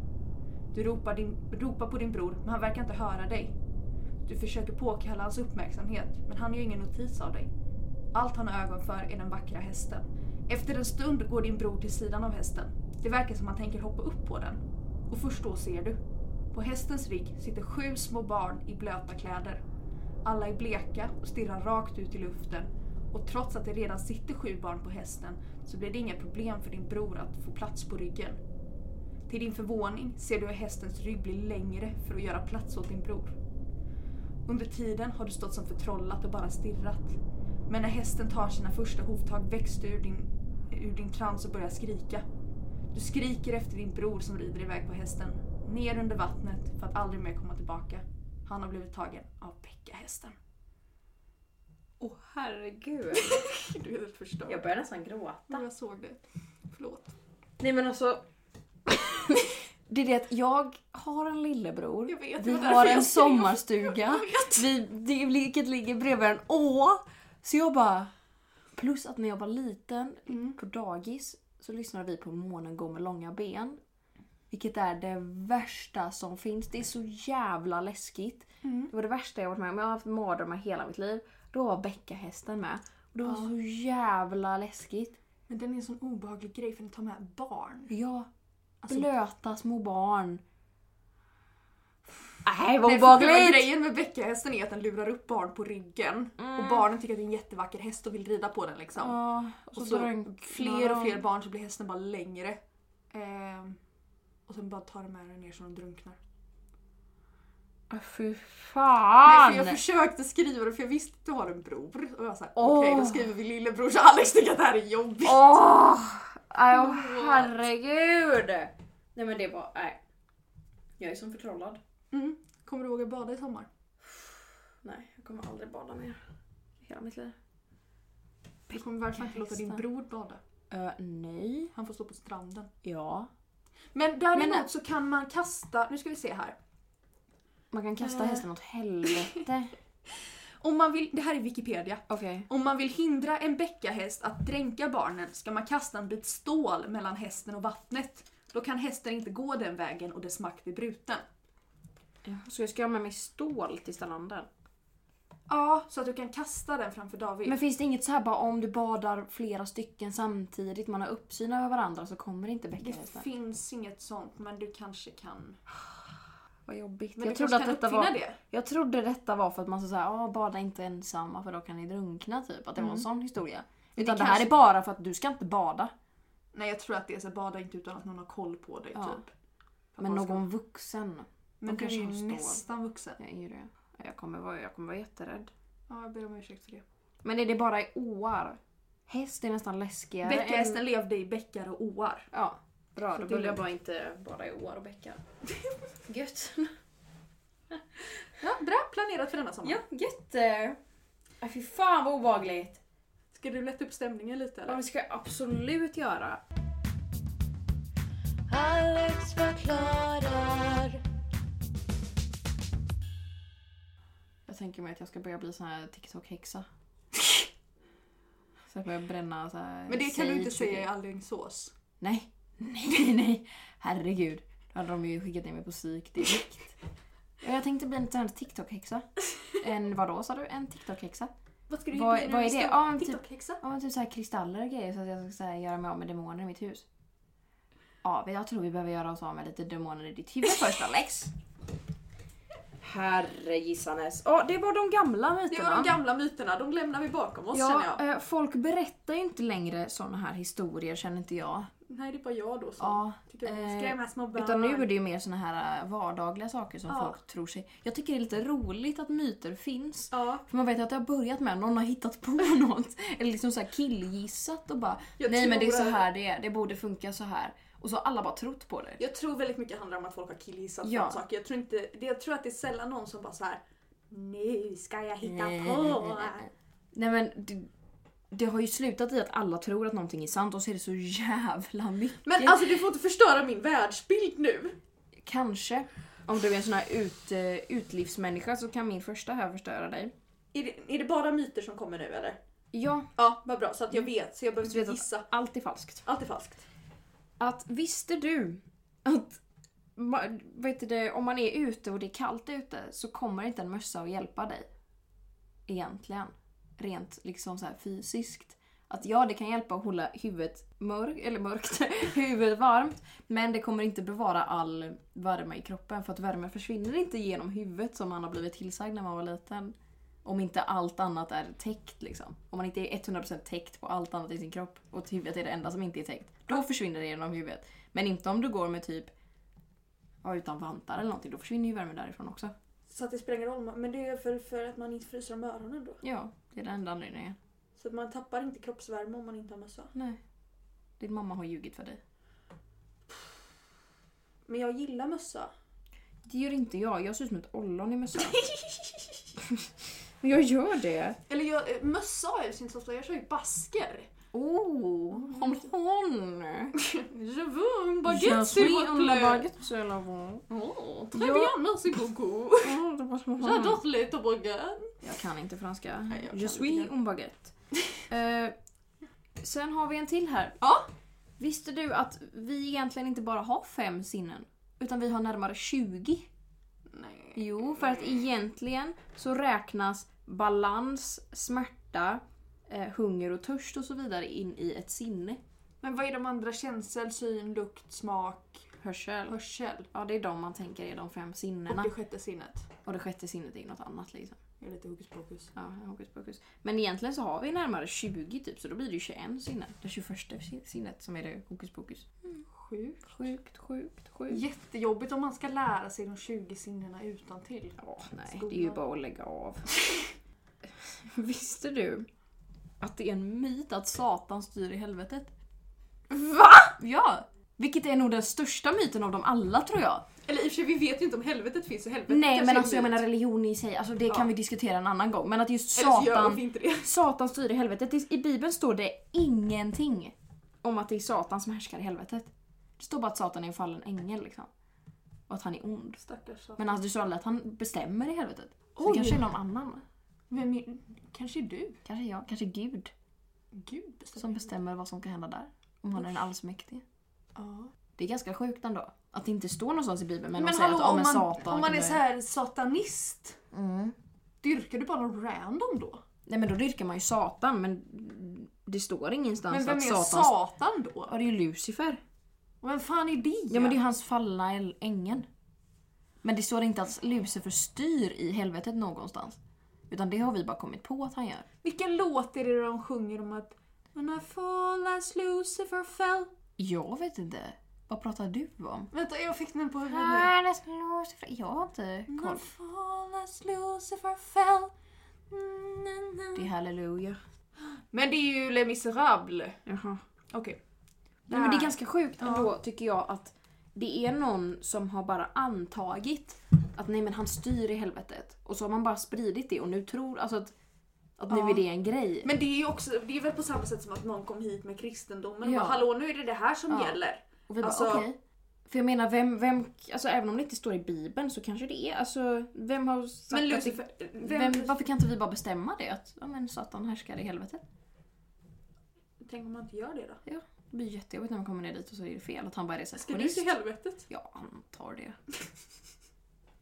Speaker 2: Du ropar, din, ropar på din bror men han verkar inte höra dig. Du försöker påkalla hans uppmärksamhet men han gör ingen notis av dig. Allt han har ögon för är den vackra hästen. Efter en stund går din bror till sidan av hästen. Det verkar som han tänker hoppa upp på den. Och först då ser du. På hästens rygg sitter sju små barn i blöta kläder. Alla är bleka och stirrar rakt ut i luften. Och trots att det redan sitter sju barn på hästen så blir det inga problem för din bror att få plats på ryggen. Till din förvåning ser du hur hästens rygg blir längre för att göra plats åt din bror. Under tiden har du stått som förtrollat och bara stirrat. Men när hästen tar sina första hovtag väcks du ur din, ur din trans och börjar skrika. Du skriker efter din bror som rider iväg på hästen. Ner under vattnet för att aldrig mer komma tillbaka. Han har blivit tagen av Pekka-hästen.
Speaker 1: Åh oh, herregud.
Speaker 2: Du är helt förstörd.
Speaker 1: Jag börjar nästan gråta.
Speaker 2: jag såg det. Förlåt.
Speaker 1: Nej men alltså. (laughs) det är det att jag har en lillebror.
Speaker 2: Jag vet, det
Speaker 1: vi
Speaker 2: var
Speaker 1: har
Speaker 2: därför
Speaker 1: en
Speaker 2: jag skrev. (laughs)
Speaker 1: sommarstuga. Vi, det, vilket ligger bredvid en å. Så jag bara... Plus att när
Speaker 2: Mm.
Speaker 1: jag var liten på dagis så lyssnade vi på Månen går med långa ben. Vilket är det värsta som finns. Det är så jävla läskigt.
Speaker 2: Mm.
Speaker 1: Det var det värsta jag varit med om. Jag har haft mardrömmar hela mitt liv. Då var Beckahästen med. Och det var
Speaker 2: Ja.
Speaker 1: så jävla läskigt.
Speaker 2: Men den är en sån obehaglig grej för den tar med barn.
Speaker 1: Ja,
Speaker 2: Alltså,
Speaker 1: blöta små barn. Nej, vad
Speaker 2: Nej, för själva
Speaker 1: obehagligt!
Speaker 2: grejen med bäckahästen är att den lurar upp barn på ryggen.
Speaker 1: Mm.
Speaker 2: Och barnen tycker att det är en jättevacker häst och vill rida på den liksom.
Speaker 1: Ja,
Speaker 2: Och så,
Speaker 1: drunknar
Speaker 2: fler och
Speaker 1: de.
Speaker 2: fler barn så blir hästen bara längre. Ehm, och sen bara tar de med den ner så de drunknar.
Speaker 1: Ah, Fy fan!
Speaker 2: Nej, för jag försökte skriva det för jag visste att du har en bror. Och jag var såhär,
Speaker 1: Åh.
Speaker 2: okej då skriver vi lillebror så Alex tycker att det här är jobbigt.
Speaker 1: Åh! Aj, åh, herregud! Nej men det var... Nej. Jag är som förtrollad.
Speaker 2: Mm. Kommer du våga bada i sommar?
Speaker 1: Nej, jag kommer aldrig bada mer. i Hela mitt liv.
Speaker 2: Du kommer verkligen inte låta din
Speaker 1: Hästar.
Speaker 2: bror bada.
Speaker 1: Ö, nej.
Speaker 2: Han får stå på stranden.
Speaker 1: Ja.
Speaker 2: Men däremot
Speaker 1: Men-
Speaker 2: så kan man kasta, nu ska vi se här.
Speaker 1: Man kan kasta
Speaker 2: Eh.
Speaker 1: hästen åt helvete.
Speaker 2: Om man vill, det här är Wikipedia.
Speaker 1: (laughs) Okej.
Speaker 2: Om man vill hindra en bäckahäst att dränka barnen ska man kasta en bit stål mellan hästen och vattnet. Då kan hästen inte gå den vägen och dess makt är bruten.
Speaker 1: Så jag ska ha med mig stål till stranden?
Speaker 2: Ja, så att du kan kasta den framför David.
Speaker 1: Men finns det inget så här bara om du badar flera stycken samtidigt, man har uppsyn över varandra så kommer inte
Speaker 2: det
Speaker 1: bäckenhästen?
Speaker 2: finns inget sånt, men du kanske kan...
Speaker 1: Vad jobbigt.
Speaker 2: Men
Speaker 1: Jag
Speaker 2: du
Speaker 1: trodde,
Speaker 2: kanske
Speaker 1: att
Speaker 2: kan
Speaker 1: detta
Speaker 2: uppfinna
Speaker 1: var,
Speaker 2: det?
Speaker 1: jag trodde detta var för att man sa såhär, ah, bada inte ensamma för då kan ni drunkna typ. Att det var en sån historia.
Speaker 2: Mm. det
Speaker 1: Utan det, här
Speaker 2: kanske-
Speaker 1: är bara för att du ska inte bada.
Speaker 2: Nej, jag tror att det är så här, bada inte utan att någon har koll på dig,
Speaker 1: Ja.
Speaker 2: typ. Att
Speaker 1: Men
Speaker 2: man ska-
Speaker 1: någon vuxen.
Speaker 2: Men
Speaker 1: de
Speaker 2: du är
Speaker 1: kanske
Speaker 2: ju
Speaker 1: har stål.
Speaker 2: nästan vuxen.
Speaker 1: Jag är ju det. Jag kommer, vara, jag kommer vara jätterädd.
Speaker 2: Ja, jag ber om ursäkt för det.
Speaker 1: Men är det bara i åar? Häst är nästan läskigare. än-
Speaker 2: Bäckahästen levde i bäckar och åar.
Speaker 1: Ja. Bra,
Speaker 2: Så
Speaker 1: då
Speaker 2: det är
Speaker 1: vill jag
Speaker 2: lugnt.
Speaker 1: bara inte bada i åar och
Speaker 2: (laughs)
Speaker 1: bäckar. Gött.
Speaker 2: Ja, bra planerat för denna sommar.
Speaker 1: Ja, gött! Äh, fy fan vad obehagligt!
Speaker 2: Ska du lätta upp stämningen lite
Speaker 1: Ja,
Speaker 2: eller?
Speaker 1: det ska jag absolut göra.
Speaker 4: Alex förklarar.
Speaker 1: Jag tänker mig att jag ska börja bli sån här TikTok-häxa. så jag börjar bränna så här
Speaker 2: Men det kan du
Speaker 1: sage
Speaker 2: inte
Speaker 1: och
Speaker 2: säga i
Speaker 1: grejer.
Speaker 2: Alingsås.
Speaker 1: Nej, nej, nej! Herregud. Då hade de ju skickat ner mig på psyk direkt. Ja, Jag tänkte bli en sån här TikTok-häxa. En vadå sa du? En TikTok-häxa?
Speaker 2: Vad ska
Speaker 1: Vad-
Speaker 2: när
Speaker 1: vad
Speaker 2: du
Speaker 1: är det?
Speaker 2: ska-
Speaker 1: Ja, men typ-
Speaker 2: TikTok-häxa?
Speaker 1: Ja men typ så här kristaller och grejer så att jag ska så här göra mig av med demoner i mitt hus. Ja, men jag tror vi behöver göra oss av med lite demoner i ditt huvud först Alex. Herre gissanes. Ja, det var de gamla
Speaker 2: Det
Speaker 1: myterna.
Speaker 2: var de gamla myterna, de lämnar vi bakom oss känner jag.
Speaker 1: Ja, eh, folk berättar ju inte längre såna här historier känner inte jag.
Speaker 2: Nej, det är bara jag då som
Speaker 1: Ja,
Speaker 2: tycker att
Speaker 1: eh,
Speaker 2: skrämma små barn.
Speaker 1: utan nu är det ju mer såna här eh, vardagliga saker som
Speaker 2: Ja.
Speaker 1: folk tror sig... Jag tycker det är lite roligt att myter finns.
Speaker 2: Ja,
Speaker 1: För man vet ju att det har börjat med någon har hittat på (laughs) något. Eller liksom så här killgissat och bara
Speaker 2: Jag
Speaker 1: Nej men det är
Speaker 2: tror
Speaker 1: så
Speaker 2: att-
Speaker 1: här det är, det borde funka så här. Och så har alla bara trott på det.
Speaker 2: jag tror väldigt mycket handlar om att folk har killgissat
Speaker 1: Ja.
Speaker 2: ja. saker. Jag tror, inte, det- jag tror att det är sällan någon som bara så här. Nu ska jag hitta
Speaker 1: Nej,
Speaker 2: på!
Speaker 1: nej, nej, nej. Nej men det, det har ju slutat i att alla tror att någonting är sant och så är det så jävla mycket.
Speaker 2: Men alltså du får inte förstöra min världsbild nu!
Speaker 1: Kanske. Om du är en sån här ut, eh, utlivsmänniska så kan min första här förstöra dig.
Speaker 2: Är det, är det bara myter som kommer nu eller?
Speaker 1: Ja,
Speaker 2: Ja, vad bra. Så att jag vet, så jag behöver
Speaker 1: Mm. Du vet
Speaker 2: inte
Speaker 1: att-
Speaker 2: gissa.
Speaker 1: allt är falskt.
Speaker 2: Allt är falskt.
Speaker 1: Att visste du att ma- vad heter det, om man är ute och det är kallt ute så kommer inte en mössa att hjälpa dig. Egentligen. Rent liksom så här fysiskt. Att ja, det kan hjälpa att hålla huvudet mörkt, eller mörkt, (laughs) huvudet varmt. Men det kommer inte bevara all värme i kroppen för att värmen försvinner inte genom huvudet som man har blivit tillsagd när man var liten. Om inte allt annat är täckt liksom. Om man inte är 100% täckt på allt annat i sin kropp och huvudet är det enda som inte är täckt. Då försvinner det genom huvudet. Men inte om du går med typ ja, utan vantar eller någonting. Då försvinner ju värmen därifrån också.
Speaker 2: Så att det spelar ingen roll, men det är för, för att man inte fryser om öronen då.
Speaker 1: Ja, det är den enda anledningen.
Speaker 2: Så att man tappar inte kroppsvärme om man inte har mössa.
Speaker 1: Nej. Din mamma har ljugit för dig.
Speaker 2: Men jag gillar mössa.
Speaker 1: Det gör inte jag. Jag ser ut som ett ollon i (laughs) mössan. Men jag gör det.
Speaker 2: Eller jag, eh, mössa har jag syns ofta, jag kör ju basker.
Speaker 1: Oh, hon hon!
Speaker 2: Je veux un
Speaker 1: Jag
Speaker 2: baguette
Speaker 1: suis
Speaker 2: s'il vous
Speaker 1: en la
Speaker 2: plaît.
Speaker 1: baguette, c'est la (laughs) bon.
Speaker 2: Oh, très
Speaker 1: Ja.
Speaker 2: bien, merci
Speaker 1: (laughs)
Speaker 2: beaucoup.
Speaker 1: Oh, det var så hon.
Speaker 2: J'adore lite baguette.
Speaker 1: Jag kan inte franska.
Speaker 2: Nej, jag kan
Speaker 1: Je suis
Speaker 2: (laughs) inte.
Speaker 1: un baguette. Eh, sen har vi en till här.
Speaker 2: Ja.
Speaker 1: Visste du att vi egentligen inte bara har fem sinnen? Utan vi har närmare 20.
Speaker 2: Nej.
Speaker 1: Jo, för att egentligen så räknas balans, smärta, eh, hunger och törst och så vidare in i ett sinne.
Speaker 2: Men vad är de andra? Känsel, syn, lukt, smak,
Speaker 1: Hörsel.
Speaker 2: hörsel?
Speaker 1: Ja, det är de man tänker är de fem
Speaker 2: Och
Speaker 1: sinnena.
Speaker 2: det sjätte sinnet.
Speaker 1: Och det sjätte sinnet är något annat liksom.
Speaker 2: Jag är lite hokus pokus.
Speaker 1: Ja, hokus pokus. Men egentligen så har vi närmare 20 typ, så då blir det ju 21 sinnen. Det 21 sinnet som är det hokus pokus.
Speaker 2: Sjukt.
Speaker 1: Sjukt, sjukt, sjukt.
Speaker 2: Jättejobbigt om man ska lära sig de 20 sinnena utan till.
Speaker 1: Ja, nej, det är ju bara att lägga av. (laughs) Visste du att det är en myt att Satan styr i helvetet? VA? Ja! Vilket är nog den största myten av dem alla tror jag.
Speaker 2: Eller i och för sig, vi vet ju inte om helvetet finns. Så helvetet
Speaker 1: Nej
Speaker 2: kanske
Speaker 1: men
Speaker 2: är
Speaker 1: alltså jag
Speaker 2: en myt.
Speaker 1: menar religion i sig, alltså det
Speaker 2: Ja.
Speaker 1: kan vi diskutera en annan gång. Men att just
Speaker 2: Eller så gör
Speaker 1: Satan,
Speaker 2: vi inte det.
Speaker 1: Satan styr i helvetet. I i Bibeln står det ingenting om att det är Satan som härskar i helvetet. Det står bara att Satan är en fallen ängel liksom. Och att han är ond.
Speaker 2: Stackars Satan.
Speaker 1: Men alltså det står aldrig att han bestämmer i helvetet. Så det
Speaker 2: Oj.
Speaker 1: kanske är någon annan.
Speaker 2: Men min, kanske du?
Speaker 1: Kanske jag, kanske Gud
Speaker 2: Gud bestämmer.
Speaker 1: som bestämmer vad som kan hända där. Om han är den allsmäktige.
Speaker 2: Ja.
Speaker 1: Det är ganska sjukt ändå. Att det inte står någonstans i bibeln men,
Speaker 2: Men
Speaker 1: de säger
Speaker 2: hallå,
Speaker 1: att om,
Speaker 2: om
Speaker 1: en
Speaker 2: man,
Speaker 1: satan
Speaker 2: om man
Speaker 1: kan
Speaker 2: är
Speaker 1: börja-
Speaker 2: så här satanist,
Speaker 1: Mm.
Speaker 2: dyrkar du bara någon random då?
Speaker 1: Nej men då dyrkar man ju satan men det står ingenstans
Speaker 2: Men vem är
Speaker 1: att satan...
Speaker 2: satan då?
Speaker 1: Ja det är ju Lucifer.
Speaker 2: Och vem fan är det?
Speaker 1: Ja, men det är hans fallna äl- ängeln. Men det står inte att Lucifer styr i helvetet någonstans. Utan det har vi bara kommit på att han gör.
Speaker 2: Vilken låt är det de sjunger om att When I fall as Lucifer fell?
Speaker 1: Jag vet inte. Vad pratar du om?
Speaker 2: Vänta, jag fick den på huvudet.
Speaker 1: Härnes Lucifer. Jag har inte
Speaker 2: When I
Speaker 1: koll.
Speaker 2: fall as Lucifer fell. Mm, mm,
Speaker 1: Det
Speaker 2: mm.
Speaker 1: är halleluja.
Speaker 2: Men det är ju Les Misérables.
Speaker 1: Jaha.
Speaker 2: Okej.
Speaker 1: Nej, men det är ganska sjukt
Speaker 2: Ja.
Speaker 1: ändå tycker jag att det är någon som har bara antagit att nej men han styr i helvetet. Och så har man bara spridit det och nu tror alltså att, att nu
Speaker 2: Ja.
Speaker 1: är det en grej.
Speaker 2: Men det är ju också, det är väl på samma sätt som att någon kom hit med kristendomen
Speaker 1: Ja.
Speaker 2: och bara, hallå nu är det det här som
Speaker 1: Ja.
Speaker 2: gäller.
Speaker 1: och vi bara
Speaker 2: alltså-
Speaker 1: okej. För jag menar vem, vem, alltså även om det inte står i bibeln så kanske det är, alltså vem har sagt
Speaker 2: Men
Speaker 1: att det,
Speaker 2: Lucifer,
Speaker 1: vem,
Speaker 2: alltså, vem,
Speaker 1: varför kan inte vi bara bestämma det? Att ja men satan härskar i helvetet.
Speaker 2: tänk om man inte gör det då?
Speaker 1: Det blir jättejobbigt när man kommer ner dit och så är det fel att han bara är
Speaker 2: Ska du
Speaker 1: receptionist.
Speaker 2: till helvetet?
Speaker 1: Jag antar det. (laughs)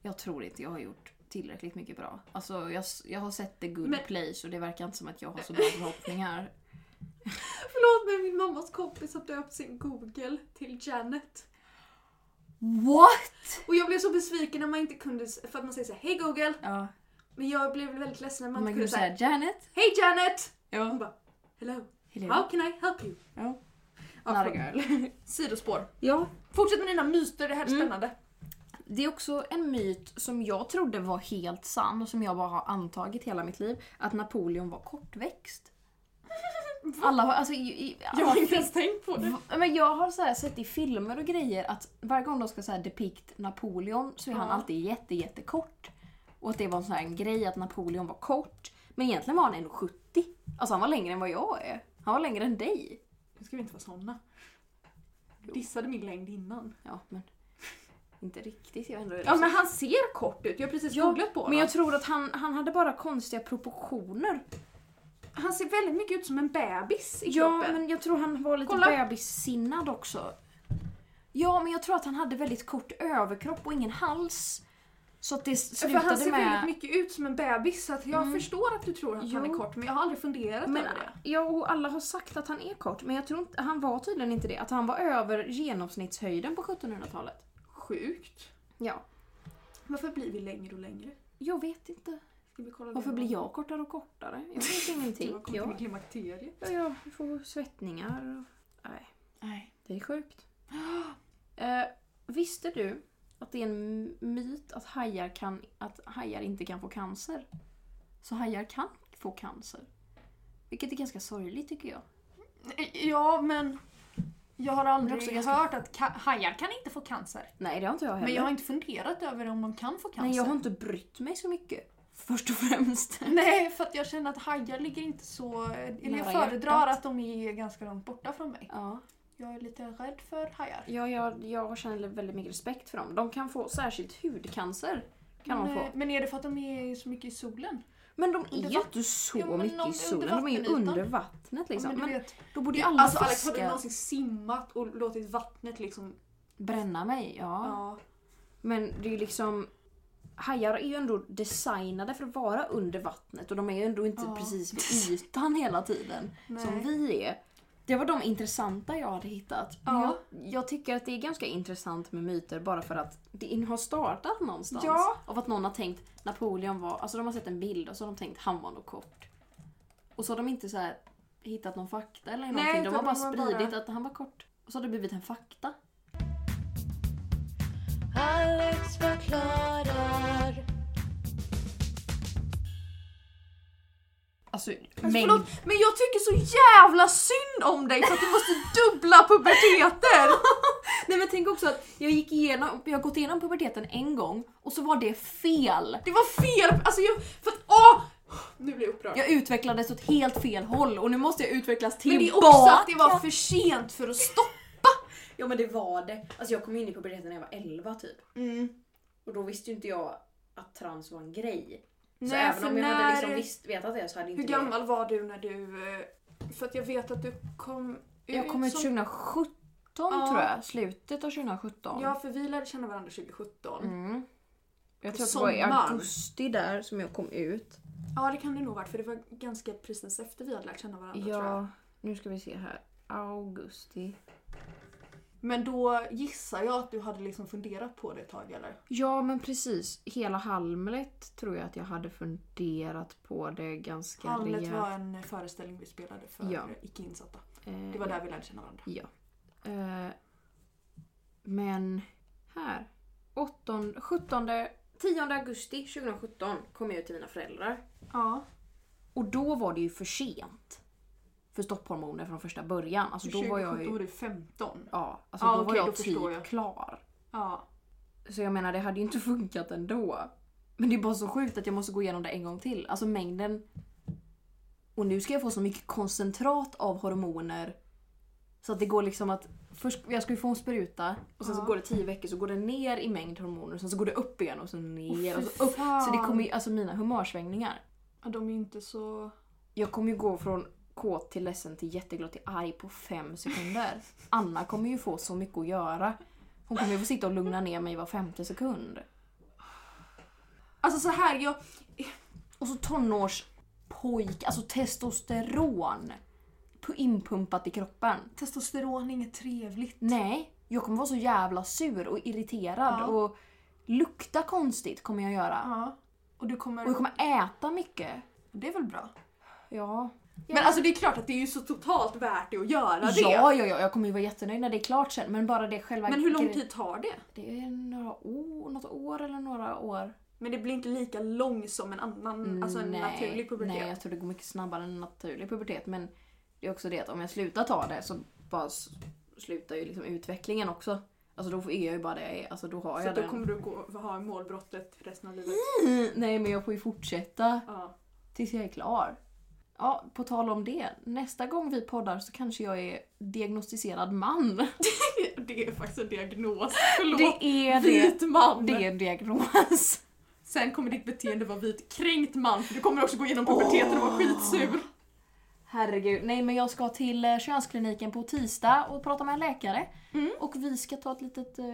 Speaker 1: Jag tror inte jag har gjort tillräckligt mycket bra. Alltså jag, jag har sett the good
Speaker 2: Men-
Speaker 1: place och det verkar inte som att jag har så bra förhoppningar.
Speaker 2: (laughs) Förlåt men min mammas kompis har döpt sin Google till Janet.
Speaker 1: What?
Speaker 2: Och jag blev så besviken när man inte kunde, s- för att man säger såhär hej Google.
Speaker 1: Ja,
Speaker 2: Men jag blev väldigt ledsen när man
Speaker 1: man
Speaker 2: inte
Speaker 1: kunde
Speaker 2: kunde säga
Speaker 1: säga Janet.
Speaker 2: hej Janet! Hon
Speaker 1: Ja.
Speaker 2: bara hello,
Speaker 1: Hello.
Speaker 2: how can I help you?
Speaker 1: Ja.
Speaker 2: Ja,
Speaker 1: Not a
Speaker 2: förlåt.
Speaker 1: girl.
Speaker 2: (laughs) sidospår.
Speaker 1: ja,
Speaker 2: Fortsätt med dina myter, det här är
Speaker 1: Mm.
Speaker 2: spännande.
Speaker 1: Det är också en myt som jag trodde var helt sann och som jag bara har antagit hela mitt liv. Att Napoleon var
Speaker 2: (laughs)
Speaker 1: kortväxt. Alla har, alltså, i, i,
Speaker 2: Jag
Speaker 1: alla,
Speaker 2: har inte ens tänkt på det.
Speaker 1: Ja, men jag har så här sett i filmer och grejer att varje gång de ska så här depikt Napoleon så är han
Speaker 2: Ja.
Speaker 1: alltid jätte, jätte kort. Och att det var en sån här grej att Napoleon var kort. Men egentligen var han ändå 70. Alltså han var längre än vad jag är. Han var längre än dig.
Speaker 2: Nu ska vi inte vara såna. Dissade min längd innan.
Speaker 1: Ja men inte riktigt. Jag är ändå
Speaker 2: Ja men han ser kort ut, jag har precis
Speaker 1: Ja,
Speaker 2: googlat på honom.
Speaker 1: Men jag tror att han, han hade bara konstiga proportioner.
Speaker 2: Han ser väldigt mycket ut som en bebis i
Speaker 1: Ja,
Speaker 2: kroppen.
Speaker 1: men jag tror han var lite
Speaker 2: Kolla.
Speaker 1: bebissinnad också. Ja, men jag tror att han hade väldigt kort överkropp och ingen hals. Så att det
Speaker 2: För han
Speaker 1: slutade
Speaker 2: ser väldigt
Speaker 1: med...
Speaker 2: mycket ut som en bebis så att jag
Speaker 1: Mm.
Speaker 2: förstår att du tror att han
Speaker 1: Jo.
Speaker 2: är kort men jag har aldrig funderat
Speaker 1: Men,
Speaker 2: över det.
Speaker 1: ja, och alla har sagt att han är kort, men jag tror inte, han var tydligen inte det. Att han var över genomsnittshöjden på 1700-talet.
Speaker 2: Sjukt.
Speaker 1: Ja,
Speaker 2: Varför blir vi längre och längre?
Speaker 1: jag vet inte.
Speaker 2: Ska vi kolla
Speaker 1: Varför blir jag kortare och kortare? Jag
Speaker 2: (laughs)
Speaker 1: vet
Speaker 2: till?
Speaker 1: ingenting.
Speaker 2: Jag kommer till min
Speaker 1: Jag,
Speaker 2: klimakterie.
Speaker 1: ja, jag får svettningar och... Nej.
Speaker 3: Nej.
Speaker 1: Det är sjukt. Eh, visste du att det är en myt att hajar, kan, att hajar inte kan få cancer? Så hajar kan få cancer. Vilket är ganska sorgligt tycker jag.
Speaker 2: Ja men jag har aldrig
Speaker 1: också ganska-
Speaker 2: hört att ka- hajar kan inte få cancer.
Speaker 1: Nej, det har inte jag heller.
Speaker 2: Men jag har inte funderat över om de kan få cancer.
Speaker 1: Nej, jag har inte brytt mig så mycket. Först och
Speaker 2: (laughs)
Speaker 1: främst.
Speaker 2: Nej, för att jag känner att hajar ligger inte så... Eller jag
Speaker 1: Nära
Speaker 2: föredrar
Speaker 1: hjärtat.
Speaker 2: att de är ganska långt borta från mig.
Speaker 1: Ja,
Speaker 2: Jag är lite rädd för hajar.
Speaker 1: jag, jag, jag känner väldigt mycket respekt för dem. De kan få särskilt hudcancer. Kan de
Speaker 2: men,
Speaker 1: få.
Speaker 2: eh, men är det för att de är så mycket i solen?
Speaker 1: Men de
Speaker 2: Under
Speaker 1: är ju
Speaker 2: vatt-
Speaker 1: inte så
Speaker 2: Jo, men de
Speaker 1: mycket
Speaker 2: är
Speaker 1: i solen.
Speaker 2: under
Speaker 1: De är ju
Speaker 2: vattenytan.
Speaker 1: under vattnet liksom.
Speaker 2: men
Speaker 1: Men
Speaker 2: du vet,
Speaker 1: då borde ju alla
Speaker 2: alltså Alex, har du
Speaker 1: fiskar
Speaker 2: någonsin simmat och låtit vattnet liksom...
Speaker 1: bränna mig. Ja.
Speaker 2: Ja.
Speaker 1: Men det är ju liksom... Hajar är ju ändå designade för att vara under vattnet och de är ju ändå inte
Speaker 2: Ja.
Speaker 1: precis
Speaker 2: (laughs)
Speaker 1: vid ytan hela tiden. Som
Speaker 2: Nej.
Speaker 1: vi är. Det var de intressanta jag hade hittat. Men
Speaker 2: Ja.
Speaker 1: Jag, jag tycker att det är ganska intressant med myter bara för att det in- har startat någonstans.
Speaker 2: Ja.
Speaker 1: Av att någon har tänkt Napoleon var... Alltså de har sett en bild och så har de tänkt han var nog kort. Och så har de inte så här hittat någon fakta eller någonting. de
Speaker 2: utan
Speaker 1: har bara
Speaker 2: de har bara-
Speaker 1: spridit att han var kort. Och så har det blivit en fakta.
Speaker 4: Alex förklarar.
Speaker 1: Alltså,
Speaker 2: Alltså,
Speaker 1: mängd-
Speaker 2: förlåt, men jag tycker så jävla synd om dig för att du måste dubbla puberteter!
Speaker 1: (laughs) Nej men tänk också att jag gick igenom, jag har gått igenom puberteten en gång och så var det fel.
Speaker 2: Det var fel! Alltså jag... För att, åh! Nu blir jag upprörd.
Speaker 1: Jag utvecklades åt helt fel håll och nu måste jag utvecklas
Speaker 2: men det är
Speaker 1: tillbaka.
Speaker 2: också att det var för sent för att stoppa.
Speaker 1: Ja men det var det. Alltså jag kom in i puberteten när jag var 11 typ. Och då visste ju inte jag att trans var en grej. Så
Speaker 2: Nej,
Speaker 1: även
Speaker 2: för
Speaker 1: om jag hade
Speaker 2: när-
Speaker 1: liksom visst, vetat det så hade inte
Speaker 2: Hur gammal var du när du... eh, För att jag vet att du kom
Speaker 1: det... Jag kom ut
Speaker 2: som-
Speaker 1: 2017
Speaker 2: Ja.
Speaker 1: tror jag. Slutet av 2017.
Speaker 2: Ja, för vi lärde känna varandra 2017.
Speaker 1: Mm. Jag
Speaker 2: På
Speaker 1: tror att det var i
Speaker 2: sommaren.
Speaker 1: augusti där som jag kom ut.
Speaker 2: Ja, det kan det nog varit för det var ganska precis efter vi hade lärt känna varandra tror jag.
Speaker 1: Ja, nu ska vi se här. Augusti.
Speaker 2: Men då gissar jag att du hade liksom funderat på det ett tag eller?
Speaker 1: Ja men precis. Hela Hamlet tror jag att jag hade funderat på det ganska
Speaker 2: Hamlet
Speaker 1: rejält.
Speaker 2: var en föreställning vi spelade för
Speaker 1: Ja.
Speaker 2: icke insatta.
Speaker 1: Eh,
Speaker 2: Det var där vi lärde känna varandra.
Speaker 1: Ja. Eh, men här. 8, 17, 10 augusti 2017 kom jag ut till mina föräldrar.
Speaker 2: Ja.
Speaker 1: Och då var det ju för sent. För stopphormoner från första början. Alltså då var jag
Speaker 2: 2017 var
Speaker 1: ju...
Speaker 2: du 15.
Speaker 1: Ja, alltså
Speaker 2: Ja,
Speaker 1: då var
Speaker 2: okej,
Speaker 1: jag
Speaker 2: då
Speaker 1: typ
Speaker 2: förstår jag.
Speaker 1: klar.
Speaker 2: Ja.
Speaker 1: Så jag menar det hade ju inte (laughs) funkat ändå. Men det är bara så sjukt att jag måste gå igenom det en gång till. Alltså mängden. Och nu ska jag få så mycket koncentrat av hormoner. Så att det går liksom att först, jag ska ju få en spruta och sen så
Speaker 2: Ja.
Speaker 1: går det tio veckor så går det ner i mängd hormoner och sen så går det upp igen och så ner
Speaker 2: Åh,
Speaker 1: och
Speaker 2: fy
Speaker 1: så upp. Så det
Speaker 2: fan.
Speaker 1: kommer ju, alltså mina humörsvängningar.
Speaker 2: Ja, De är ju inte så...
Speaker 1: Jag kommer ju gå från kåt till ledsen till jätteglad till arg på fem sekunder. Anna kommer ju få så mycket att göra. Hon kommer ju få sitta och lugna ner mig var femte sekund.
Speaker 2: Alltså så här, jag...
Speaker 1: Och så tonårspojk, alltså testosteron. pu- Inpumpat i kroppen.
Speaker 2: Testosteron är inget trevligt.
Speaker 1: Nej, jag kommer vara så jävla sur och irriterad
Speaker 2: Ja.
Speaker 1: och lukta konstigt kommer jag göra.
Speaker 2: Ja. Och du kommer...
Speaker 1: Och jag kommer äta mycket.
Speaker 2: Det är väl bra?
Speaker 1: Ja.
Speaker 2: Men alltså det är klart att det är ju så totalt värt det att göra det.
Speaker 1: Ja, ja, ja, jag kommer ju vara jättenöjd när det är klart sen. Men bara det själva...
Speaker 2: Men hur lång tid tar det?
Speaker 1: Det är några år, något år eller några år.
Speaker 2: Men det blir inte lika lång som en annan, alltså en naturlig pubertet.
Speaker 1: Nej, jag tror det går mycket snabbare än en naturlig pubertet. Men det är också det att om jag slutar ta det så bara s- slutar ju liksom utvecklingen också. Alltså då är jag ju bara det jag är. Alltså då har jag
Speaker 2: så
Speaker 1: Mm.
Speaker 2: då
Speaker 1: den.
Speaker 2: kommer du gå, ha målbrottet resten av livet.
Speaker 1: (clears throat) Nej men jag får ju fortsätta
Speaker 2: Ja.
Speaker 1: tills jag är klar. Ja, på tal om det. Nästa gång vi poddar så kanske jag är diagnostiserad man.
Speaker 2: Det är faktiskt en diagnos. Förlåt.
Speaker 1: Det är det.
Speaker 2: Vit man!
Speaker 1: Det är en diagnos.
Speaker 2: Sen kommer ditt beteende vara vit kränkt man för du kommer också gå igenom puberteten och vara skitsur.
Speaker 1: Herregud. Nej men jag ska till eh, könskliniken på tisdag och prata med en läkare.
Speaker 2: Mm.
Speaker 1: Och vi ska ta ett litet eh,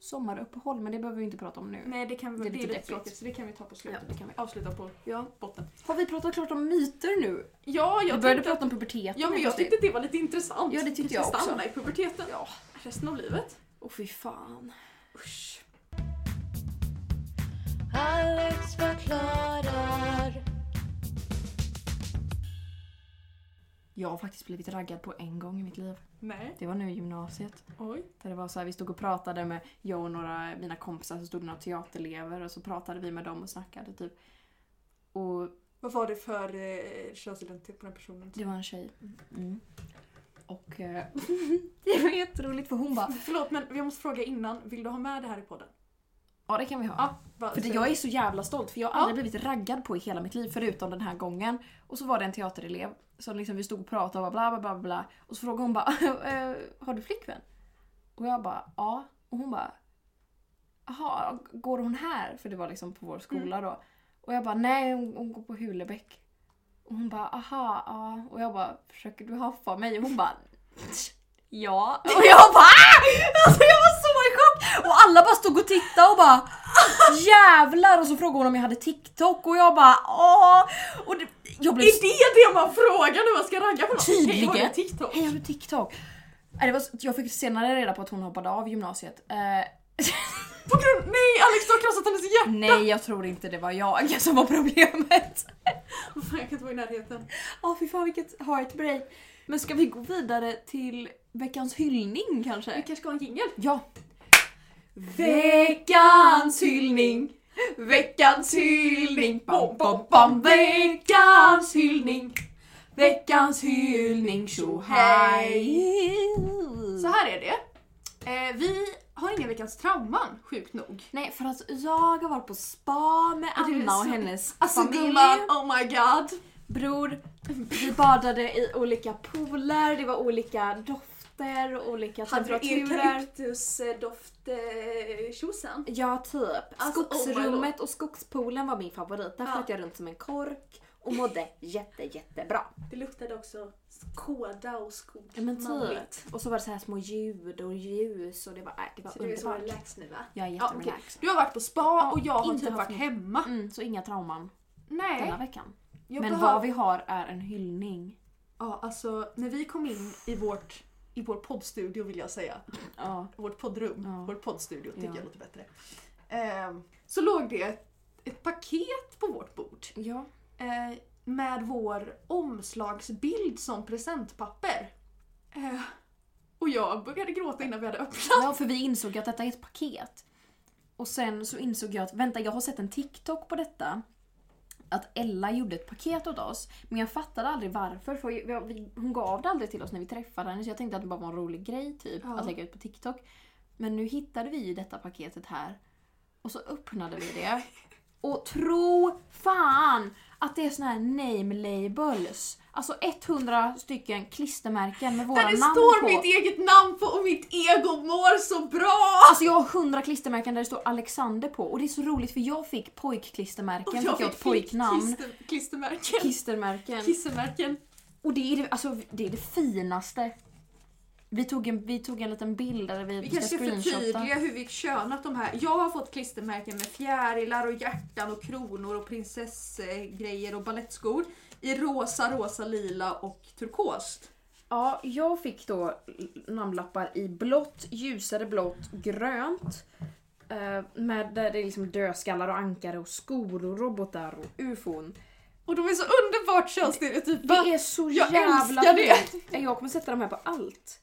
Speaker 1: sommaruppehåll men det behöver vi inte prata om nu.
Speaker 2: Nej det kan vi,
Speaker 1: Det är
Speaker 2: det är
Speaker 1: lite
Speaker 2: lite
Speaker 1: deppigt.
Speaker 2: tråkigt så det kan vi ta på
Speaker 1: Ja,
Speaker 2: slutet.
Speaker 1: det kan vi.
Speaker 2: Avsluta på
Speaker 1: Ja.
Speaker 2: botten.
Speaker 1: Har vi pratat klart om myter nu?
Speaker 2: Ja,
Speaker 1: Vi
Speaker 2: jag
Speaker 1: började
Speaker 2: tänkte,
Speaker 1: prata om puberteten.
Speaker 2: ja men jag tyckte det var lite intressant.
Speaker 1: Ja, det tyckte
Speaker 2: Kanske
Speaker 1: jag också.
Speaker 2: stanna i puberteten
Speaker 1: Ja.
Speaker 2: resten av livet.
Speaker 1: Åh fy fan.
Speaker 2: Usch.
Speaker 4: Alex förklarar.
Speaker 1: Jag har faktiskt blivit raggad på en gång i mitt liv.
Speaker 2: Nej.
Speaker 1: Det var nu i gymnasiet.
Speaker 2: Oj.
Speaker 1: Där det var så här, vi stod och pratade med jag och några mina kompisar, så stod det några teaterelever och så pratade vi med dem och snackade typ. Och
Speaker 2: Vad var det för eh, könsidentitet på den personen?
Speaker 1: det var en tjej. Mm. Och eh, (laughs) det var jätteroligt för hon bara
Speaker 2: Förlåt men jag måste fråga innan, vill du ha med det här i podden?
Speaker 1: Ja det kan vi ha.
Speaker 2: Ja, bara-
Speaker 1: För det,
Speaker 2: så-
Speaker 1: jag är så jävla stolt för jag har
Speaker 2: Ja.
Speaker 1: aldrig blivit raggad på i hela mitt liv förutom den här gången. Och så var det en teaterelev som liksom vi stod och pratade och bla bla bla bla. Och så frågade hon bara (laughs) "Eh, Har du flickvän? Och jag bara ja.
Speaker 2: Mm.
Speaker 1: Och hon bara Jaha, går hon här? För det var liksom på vår skola då. Och jag bara, nej hon, hon går på Hulebäck. Och hon bara, aha, ja. Och jag bara, försöker du haffa mig? Och hon bara, ja. Och jag bara, ah! (laughs) Alltså jag var så i chock! Och alla bara stod och tittade och bara, jävlar! Och så frågade hon om jag hade TikTok och jag bara, åh! Och det, jag blev
Speaker 2: Är det det man frågar när man ska ragga på någon?
Speaker 1: Tydligen.
Speaker 2: Hej, har du TikTok?
Speaker 1: Hej, har du TikTok? Nej, det var, så- jag fick senare reda på att hon hoppade av gymnasiet. Eh, (laughs)
Speaker 2: På grund... Nej, Alex du har krossat hennes hjärta!
Speaker 1: nej, jag tror inte det var jag (laughs) som var problemet.
Speaker 2: Fan, Jag kan inte vara i närheten.
Speaker 1: Ja, fy fan vilket heartbreak. Men ska vi gå vidare till veckans hyllning kanske?
Speaker 2: Vi kanske ska ha en jingel?
Speaker 1: Ja.
Speaker 2: Veckans hyllning! Veckans hyllning! Bom, bom, bom. Veckans hyllning! Veckans hyllning! Tjo hej! Så här är det. Eh, vi har inga veckans trauman, sjukt nog.
Speaker 1: Nej, för att jag har varit på spa med
Speaker 2: du är
Speaker 1: Anna och
Speaker 2: så-
Speaker 1: hennes
Speaker 2: Alltså
Speaker 1: familj.
Speaker 2: gumman, oh my god!
Speaker 1: Bror, vi badade i olika pooler, det var olika dofter och olika
Speaker 2: Hade du
Speaker 1: temperaturer.
Speaker 2: eukalyptusdoft-tjosan?
Speaker 1: Ja, typ.
Speaker 2: Alltså, oh my
Speaker 1: Skogsrummet och skogspoolen var min favorit. Där
Speaker 2: Ja.
Speaker 1: flöt jag runt som en kork och mådde jätte, jättebra.
Speaker 2: Det luktade också kåda och skog.
Speaker 1: Ja, men typ. Och så var det så här små ljud och ljus och det var, äh, det var underbart.
Speaker 2: relaxed nu va?
Speaker 1: Jag är
Speaker 2: Ja, okej.
Speaker 1: jätterelaxed.
Speaker 2: Du har varit på spa och jag har
Speaker 1: inte
Speaker 2: typ
Speaker 1: haft
Speaker 2: varit hemma.
Speaker 1: mm, så inga trauman
Speaker 2: Nej.
Speaker 1: denna veckan.
Speaker 2: Jag
Speaker 1: Men
Speaker 2: behöver-
Speaker 1: vad vi har är en hyllning.
Speaker 2: Ja, alltså när vi kom in i vårt i vår poddstudio vill jag säga.
Speaker 1: Ja.
Speaker 2: Vårt poddrum.
Speaker 1: Ja.
Speaker 2: Vår poddstudio tycker
Speaker 1: Ja.
Speaker 2: jag låter bättre. Ehm, så låg det ett, ett paket på vårt bord.
Speaker 1: ja.
Speaker 2: eh, med vår omslagsbild som presentpapper. Eh, och jag började gråta innan vi hade öppnat.
Speaker 1: Ja, för vi insåg att detta är ett paket. Och sen så insåg jag att vänta, jag har sett en TikTok på detta. Att Ella gjorde ett paket åt oss. Men jag fattade aldrig varför. För jag- vi, hon gav det aldrig till oss när vi träffade henne. Så jag tänkte att det bara var en rolig grej typ
Speaker 2: Ja.
Speaker 1: att lägga ut på TikTok. Men nu hittade vi ju detta paketet här. Och så öppnade vi det. Och tro fan att det är såna här name labels. Alltså 100 stycken klistermärken med våra
Speaker 2: Där
Speaker 1: namn
Speaker 2: det
Speaker 1: på.
Speaker 2: står mitt eget namn på och mitt ego mår så bra!
Speaker 1: Alltså jag har hundra klistermärken där det står Alexander på och det är så roligt för jag fick pojkklistermärken, fick jag ett pojknamn.
Speaker 2: klister, klistermärken.
Speaker 1: Klistermärken.
Speaker 2: Klistermärken.
Speaker 1: Och det är det, alltså, det är det finaste. Vi tog en, vi tog en liten bild där vi,
Speaker 2: Vi
Speaker 1: ska
Speaker 2: kanske ska
Speaker 1: screenshotta.
Speaker 2: förtydliga hur vi könat de här. Jag har fått klistermärken med fjärilar och hjärtan och kronor och prinsessgrejer och ballettskor i rosa, rosa, lila och turkos.
Speaker 1: Ja, jag fick då namnlappar i blått, ljusare blått, grönt. eh, Med där det är liksom dödskallar och ankare och skor och robotar och ufon.
Speaker 2: Och de är så underbart könsstereotypa.
Speaker 1: Det är så
Speaker 2: Jag
Speaker 1: jävla
Speaker 2: älskar det.
Speaker 1: fint. (laughs) Jag kommer sätta de här på allt.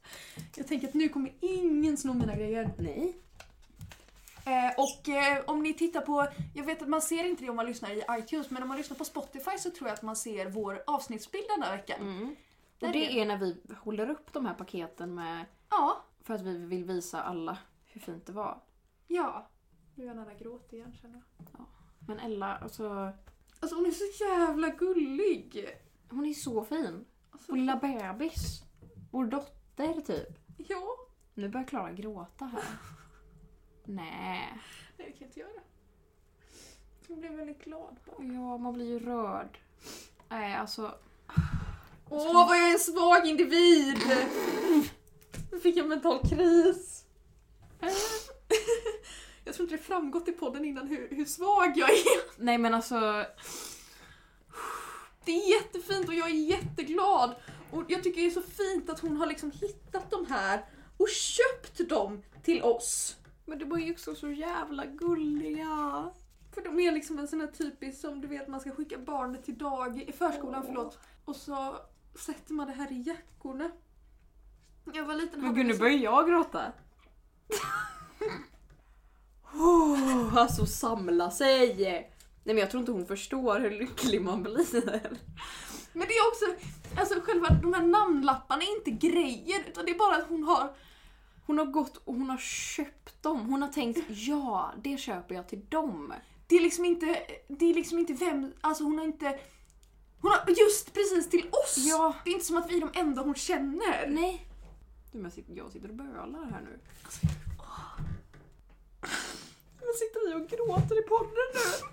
Speaker 2: Jag tänker att nu kommer ingen sno mina grejer.
Speaker 1: Nej.
Speaker 2: Eh, och eh, om ni tittar på, jag vet att man ser inte det om man lyssnar i iTunes, men om man lyssnar på Spotify så tror jag att man ser vår avsnittsbild den här veckan.
Speaker 1: Och
Speaker 2: Där
Speaker 1: det Mm. är när vi håller upp de här paketen med
Speaker 2: Ja,
Speaker 1: för att vi vill visa alla hur fint det var.
Speaker 2: ja. Nu är jag nära gråt igen känner jag.
Speaker 1: Men Ella, alltså,
Speaker 2: Alltså hon är så jävla gullig.
Speaker 1: hon är så fin.
Speaker 2: Alltså,
Speaker 1: Vår lilla bebis. Vår dotter typ.
Speaker 2: ja.
Speaker 1: Nu börjar Klara gråta här. Nej.
Speaker 2: Nej det kan jag inte göra. Jag blev väldigt glad bara.
Speaker 1: Ja, man blir ju rörd. Nej, alltså.
Speaker 2: Åh vad jag är en svag individ! Nu fick jag mental kris. (laughs) Jag tror inte det framgått i podden innan hur, hur svag jag är.
Speaker 1: Nej men alltså.
Speaker 2: Det är jättefint och jag är jätteglad. Och jag tycker det är så fint att hon har liksom hittat de här och köpt dem till oss.
Speaker 1: Men det var ju också så jävla gulliga.
Speaker 2: För de är liksom en sån här typisk som du vet man ska skicka barnet till dag, i förskolan
Speaker 1: Åh.
Speaker 2: förlåt. Och så sätter man det här i jackorna. Jag var liten
Speaker 1: Men
Speaker 2: hade
Speaker 1: gud nu
Speaker 2: liksom-
Speaker 1: börjar jag gråta. (laughs) Oh, alltså samla sig! Nej men jag tror inte hon förstår hur lycklig man blir.
Speaker 2: Men det är också, alltså själva de här namnlapparna är inte grejer utan det är bara att hon har,
Speaker 1: Hon har gått och hon har köpt dem. Hon har tänkt ja, det köper jag till dem.
Speaker 2: det är liksom inte, det är liksom inte vem, alltså hon har inte, hon har just precis till oss!
Speaker 1: Ja.
Speaker 2: Det är inte som att vi är de enda hon känner.
Speaker 1: Nej. Du men jag sitter- jag sitter och bölar här nu.
Speaker 2: Nu sitter vi och gråter i podden nu.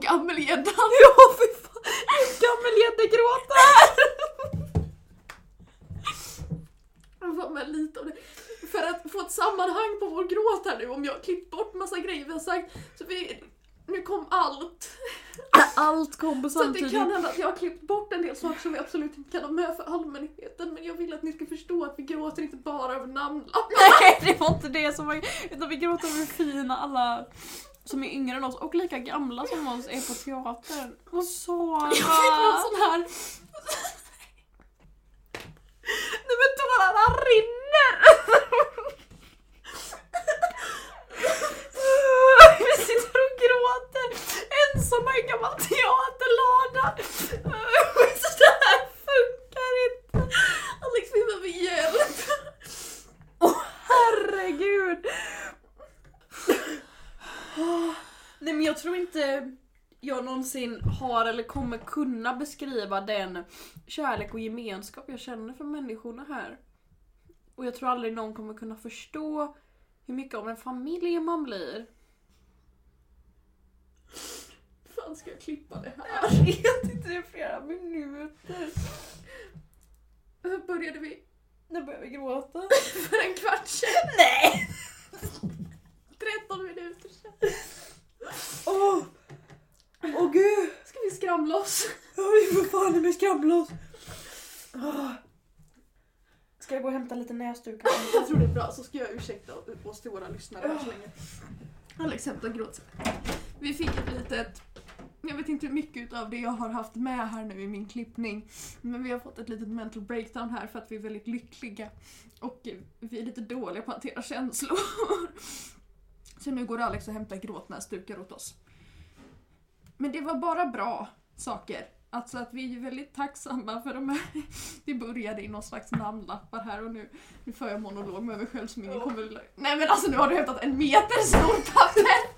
Speaker 2: Gammelgäddan.
Speaker 5: Ja, fy fan! Gammelgäddegråta!
Speaker 2: Jag får med lite av det. För att få ett sammanhang på vår gråt här nu, om jag har klippt bort massa grejer vi har sagt. Så vi, nu kom allt.
Speaker 5: Allt kom på
Speaker 2: Så att det kan hända att jag har klippt bort en del saker som vi absolut inte kan ha med för allmänheten. Men jag vill att ni ska förstå att vi gråter inte bara över namnlappar. (laughs)
Speaker 1: Nej, det var inte det som var Utan vi gråter över fina alla som är yngre än oss och lika gamla som oss är på teatern. Och så...
Speaker 2: Det var en sån här...
Speaker 1: Nej men tårarna rinner! Vi sitter och gråter ensamma i en gammal teaterlada. Så det här funkar inte.
Speaker 2: Alex, vi behöver hjälp.
Speaker 1: Herregud. Nej men jag tror inte jag någonsin har eller kommer kunna beskriva den kärlek och gemenskap jag känner för människorna här. Och jag tror aldrig någon kommer kunna förstå hur mycket av en familj man blir.
Speaker 2: fan ska jag klippa det här?
Speaker 1: Jag vet inte det är flera minuter.
Speaker 2: Hur började vi?
Speaker 1: Nu börjar vi gråta.
Speaker 2: För en kvart sedan?
Speaker 1: Nej!
Speaker 2: 13 minuter sedan.
Speaker 1: Åh! Åh gud!
Speaker 2: Ska vi skramla oss?
Speaker 1: Ja, vi får fan i mig skramla oss. Åh. Ska jag gå och hämta lite näsdukar?
Speaker 2: Jag tror det är bra, så ska jag ursäkta oss till våra lyssnare här så länge. Alex hämtar gråt. Vi fick ett litet... Jag vet inte hur mycket av det jag har haft med här nu i min klippning. Men vi har fått ett litet mental breakdown här för att vi är väldigt lyckliga. Och eh, vi är lite dåliga på att hantera känslor. Så nu går Alex och hämtar gråtnäsdukar åt oss. Men det var bara bra saker. Alltså att vi är väldigt tacksamma för de här... Det började i någon slags namnlappar här och nu nu för jag monolog med mig själv som ingen kommer... Nej men alltså nu har du hämtat en meter
Speaker 1: (laughs)
Speaker 2: stort papper!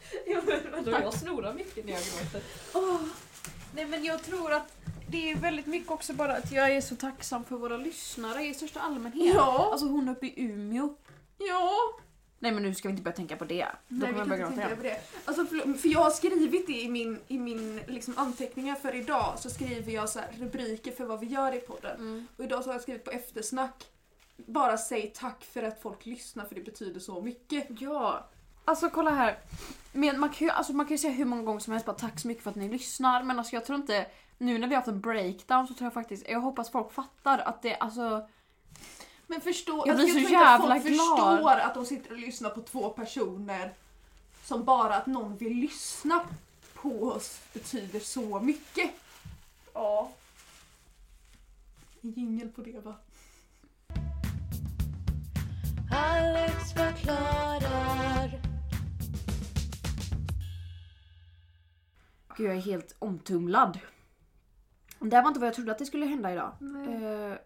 Speaker 1: Jag snorar mycket när jag gråter. Nej men jag tror att det är väldigt mycket också bara att jag är så tacksam för våra lyssnare i största allmänhet.
Speaker 2: Ja,
Speaker 1: Alltså hon uppe i Umeå.
Speaker 2: ja.
Speaker 1: Nej men nu ska vi inte börja tänka på det. Då
Speaker 2: Nej,
Speaker 1: kommer jag
Speaker 2: vi kan
Speaker 1: börja
Speaker 2: inte
Speaker 1: gråta
Speaker 2: tänka
Speaker 1: igen.
Speaker 2: över det. Alltså, för, för jag har skrivit det i min, i min liksom, anteckningar för idag så skriver jag så här rubriker för vad vi gör i podden.
Speaker 1: Mm.
Speaker 2: Och idag så har jag skrivit på eftersnack. Bara säg tack för att folk lyssnar för det betyder så mycket.
Speaker 1: Ja. Alltså kolla här. Men man, kan ju, alltså, man kan ju säga hur många gånger som helst bara tack så mycket för att ni lyssnar men alltså jag tror inte, nu när vi har haft en breakdown så tror jag faktiskt, jag hoppas folk fattar att det alltså,
Speaker 2: Men förstå,
Speaker 1: Jag blir
Speaker 2: alltså,
Speaker 1: så
Speaker 2: tror inte att
Speaker 1: jävla
Speaker 2: folk
Speaker 1: glad.
Speaker 2: förstår att de sitter och lyssnar på två personer som bara att någon vill lyssna på oss betyder så mycket.
Speaker 1: ja.
Speaker 2: En jingel på det va?
Speaker 4: Alex förklarar.
Speaker 1: Gud jag är helt omtumlad. Det här var inte vad jag trodde att det skulle hända idag. Eh,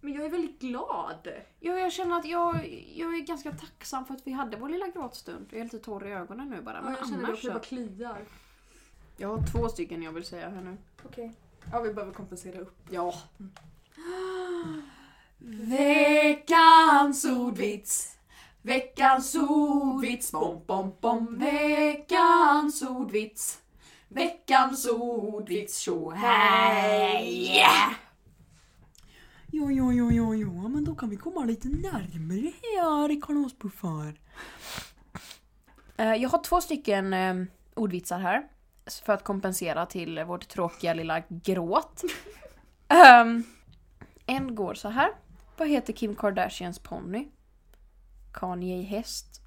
Speaker 2: Men jag är väldigt glad.
Speaker 1: ja, jag känner att jag, jag är ganska tacksam för att vi hade vår lilla gråtstund. Jag är lite torr i ögonen nu bara. Men
Speaker 2: jag känner
Speaker 1: annars
Speaker 2: att jag
Speaker 1: så.
Speaker 2: bara kliar.
Speaker 1: Jag har två stycken jag vill säga här nu.
Speaker 2: Okej. Ja, vi behöver kompensera upp.
Speaker 1: Ja.
Speaker 2: Veckans ordvits. Veckans ordvits. Bom, bom, bom. Veckans ordvits. Veckans ordvits. Tjo hej!
Speaker 6: Ja, ja, ja, ja, ja, men då kan vi komma lite närmare här i kalaspuffar.
Speaker 1: Eh, Jag har två stycken eh, ordvitsar här. s- För att kompensera till vårt tråkiga lilla
Speaker 2: (laughs)
Speaker 1: gråt. Ehm, en går så här. Vad heter Kim Kardashians ponny? Kanye häst.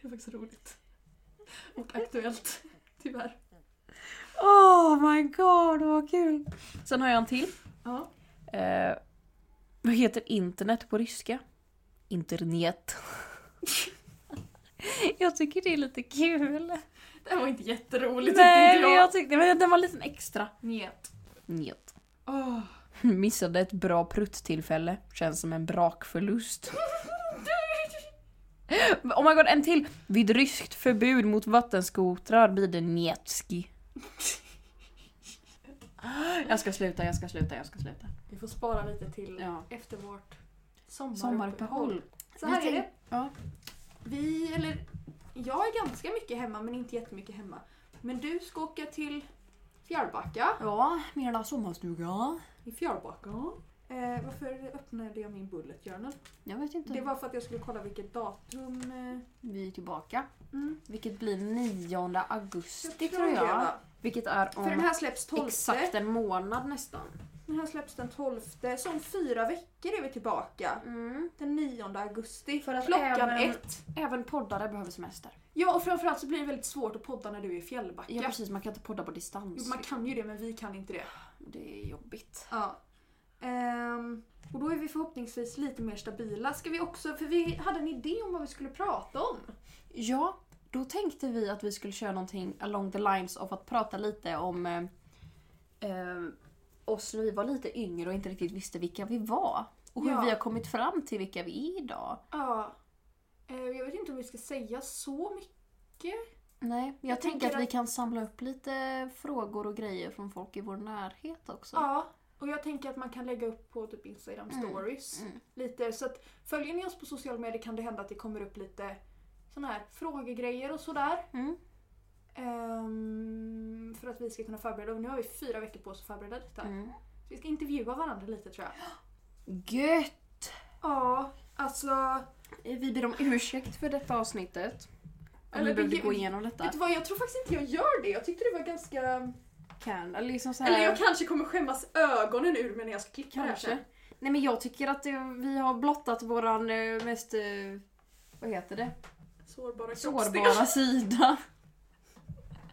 Speaker 2: Det var faktiskt roligt. Och aktuellt. Tyvärr.
Speaker 1: Oh my god, vad kul! Sen har jag en till.
Speaker 2: Ja.
Speaker 1: Eh, vad heter internet på ryska? Internet. (laughs) jag tycker det är lite kul.
Speaker 2: Det här var inte jätteroligt
Speaker 1: Nej, men
Speaker 2: tyckte inte jag.
Speaker 1: jag tyckte men den var lite extra.
Speaker 2: Njet.
Speaker 1: Njet.
Speaker 2: Åh.
Speaker 1: (laughs) Missade ett bra prutt-tillfälle. Känns som en (laughs) brakförlust. oh my god, en till! Vid ryskt förbud mot vattenskotrar blir det (laughs) njetski. Jag ska sluta, jag ska sluta, jag ska sluta.
Speaker 2: Vi får spara lite till
Speaker 1: Ja.
Speaker 2: efter vårt
Speaker 1: Sommaruppehåll.
Speaker 2: Så här
Speaker 1: Vi
Speaker 2: är det.
Speaker 1: tänk-
Speaker 3: ja.
Speaker 2: Vi, eller jag är ganska mycket hemma men inte jättemycket hemma. Men du ska åka till Fjärbacka.
Speaker 1: Ja, min lilla sommarstuga.
Speaker 2: I Fjärbacka. Eh, varför öppnade jag min bullet journal?
Speaker 1: Jag vet inte.
Speaker 2: Det var för att jag skulle kolla vilket datum... Eh,
Speaker 1: Vi är tillbaka.
Speaker 2: Mm.
Speaker 1: Vilket blir 9 augusti
Speaker 2: jag
Speaker 1: tror jag.
Speaker 2: det, va?
Speaker 1: Vilket är om
Speaker 2: För den här släpps 12.
Speaker 1: exakt en månad nästan.
Speaker 2: Den här släpps den 12. Så om fyra veckor är vi tillbaka.
Speaker 1: Mm.
Speaker 2: Den 9 augusti.
Speaker 1: För att
Speaker 2: Klockan
Speaker 1: även-
Speaker 2: ett.
Speaker 1: Även poddare behöver semester.
Speaker 2: Ja och framförallt så blir det väldigt svårt att podda när du är i Fjällbacka.
Speaker 1: Ja, precis, man kan inte podda på
Speaker 2: Jo,
Speaker 1: distans.
Speaker 2: man kan ju det men vi kan inte det.
Speaker 1: Det är jobbigt.
Speaker 2: Ja. Ehm, och då är vi förhoppningsvis lite mer stabila. Ska vi också, för vi hade en idé om vad vi skulle prata om.
Speaker 1: Ja, då tänkte vi att vi skulle köra någonting along the lines av att prata lite om eh, eh, oss när vi var lite yngre och inte riktigt visste vilka vi var. Och hur
Speaker 2: Ja.
Speaker 1: vi har kommit fram till vilka vi är idag.
Speaker 2: Ja. Eh, jag vet inte om vi ska säga så mycket.
Speaker 1: Nej, jag,
Speaker 2: Jag
Speaker 1: tänker
Speaker 2: tänker
Speaker 1: att, vi
Speaker 2: att-
Speaker 1: kan samla upp lite frågor och grejer från folk i vår närhet också.
Speaker 2: Ja. Och jag tänker att man kan lägga upp på typ Instagram
Speaker 1: Mm,
Speaker 2: stories.
Speaker 1: mm.
Speaker 2: Lite, så att följer ni oss på sociala medier kan det hända att det kommer upp lite såna här frågegrejer och sådär.
Speaker 1: Mm.
Speaker 2: Ehm, för att vi ska kunna förbereda. Och nu har vi fyra veckor på oss att förbereda detta.
Speaker 1: Mm.
Speaker 2: Så vi ska intervjua varandra lite tror jag.
Speaker 1: Gött! Eh,
Speaker 2: Ja, alltså...
Speaker 1: Vi ber om ursäkt för detta avsnittet. Om
Speaker 2: Eller
Speaker 1: vi behövde
Speaker 2: vi-
Speaker 1: gå igenom detta.
Speaker 2: Vet du vad, jag tror faktiskt inte jag gör det. Jag tyckte det var ganska...
Speaker 1: Kan, eller liksom så här,
Speaker 2: Eller jag kanske kommer skämmas ögonen ur mig när jag ska klicka det här
Speaker 1: kanske.
Speaker 2: sen.
Speaker 1: Nej men jag tycker att eh, vi har blottat våran eh, mest, eh, vad heter det?
Speaker 2: Sårbara kroppsdelar. (laughs)
Speaker 1: Sårbara sida.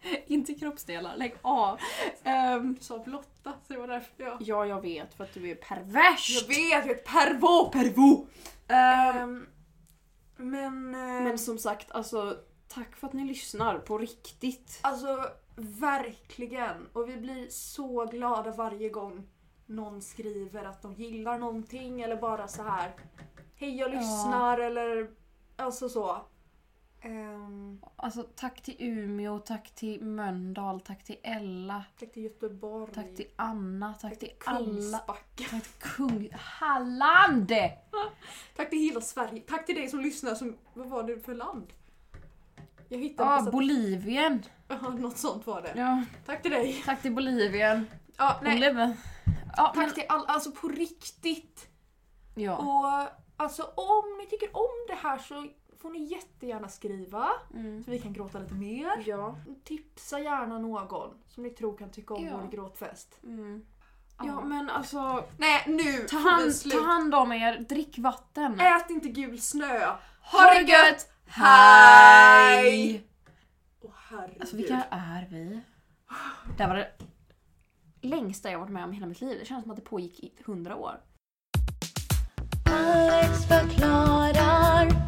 Speaker 1: (laughs) Inte kroppsdelar, lägg av. Ehm,
Speaker 2: Du sa blotta, så det var därför jag...
Speaker 1: ja jag vet för att du är pervers!
Speaker 2: Jag vet, jag är ett pervo! Pervo! Ehm, men... eh,
Speaker 1: Ehm, Men som sagt, alltså tack för att ni lyssnar på riktigt.
Speaker 2: Alltså, verkligen. Och vi blir så glada varje gång någon skriver att de gillar någonting eller bara så här. Hej, jag lyssnar eller... Alltså så. Ehm,
Speaker 1: Alltså tack till Umeå, tack till Mölndal, tack till Ella,
Speaker 2: tack till Göteborg.
Speaker 1: tack till Anna, tack till alla.
Speaker 2: Kungsbacka.
Speaker 1: Tack till Kung... Halland!
Speaker 2: Tack till hela Sverige. Tack till dig som lyssnar som... Vad var det för land? Jag hittade
Speaker 1: Ja,
Speaker 2: på så-
Speaker 1: Bolivien.
Speaker 2: (laughs) Ja, något sånt var det.
Speaker 1: Ah, Ja,
Speaker 2: Tack till dig.
Speaker 1: tack till Bolivien.
Speaker 2: Ja, nej.
Speaker 1: Bolivien. Ja,
Speaker 2: Tack
Speaker 1: men,
Speaker 2: till alla. Alltså på riktigt.
Speaker 1: ja.
Speaker 2: Och alltså om ni tycker om det här så får ni jättegärna skriva.
Speaker 1: Mm.
Speaker 2: Så vi kan gråta lite mer.
Speaker 1: Ja.
Speaker 2: Tipsa gärna någon som ni tror kan tycka om
Speaker 1: Ja.
Speaker 2: vår gråtfest.
Speaker 1: Mm.
Speaker 2: Ja.
Speaker 1: ja, men alltså...
Speaker 2: Nej, nu!
Speaker 1: Ta
Speaker 2: får vi
Speaker 1: hand,
Speaker 2: slut.
Speaker 1: ta hand om er, drick vatten.
Speaker 2: Ät inte gul snö.
Speaker 1: Eh, Ha det gött!
Speaker 2: Hej! Åh herregud.
Speaker 1: Alltså vilka är vi? Det här var det längsta jag varit med om i hela mitt liv. Det känns som att det pågick i hundra år.
Speaker 4: Alex förklarar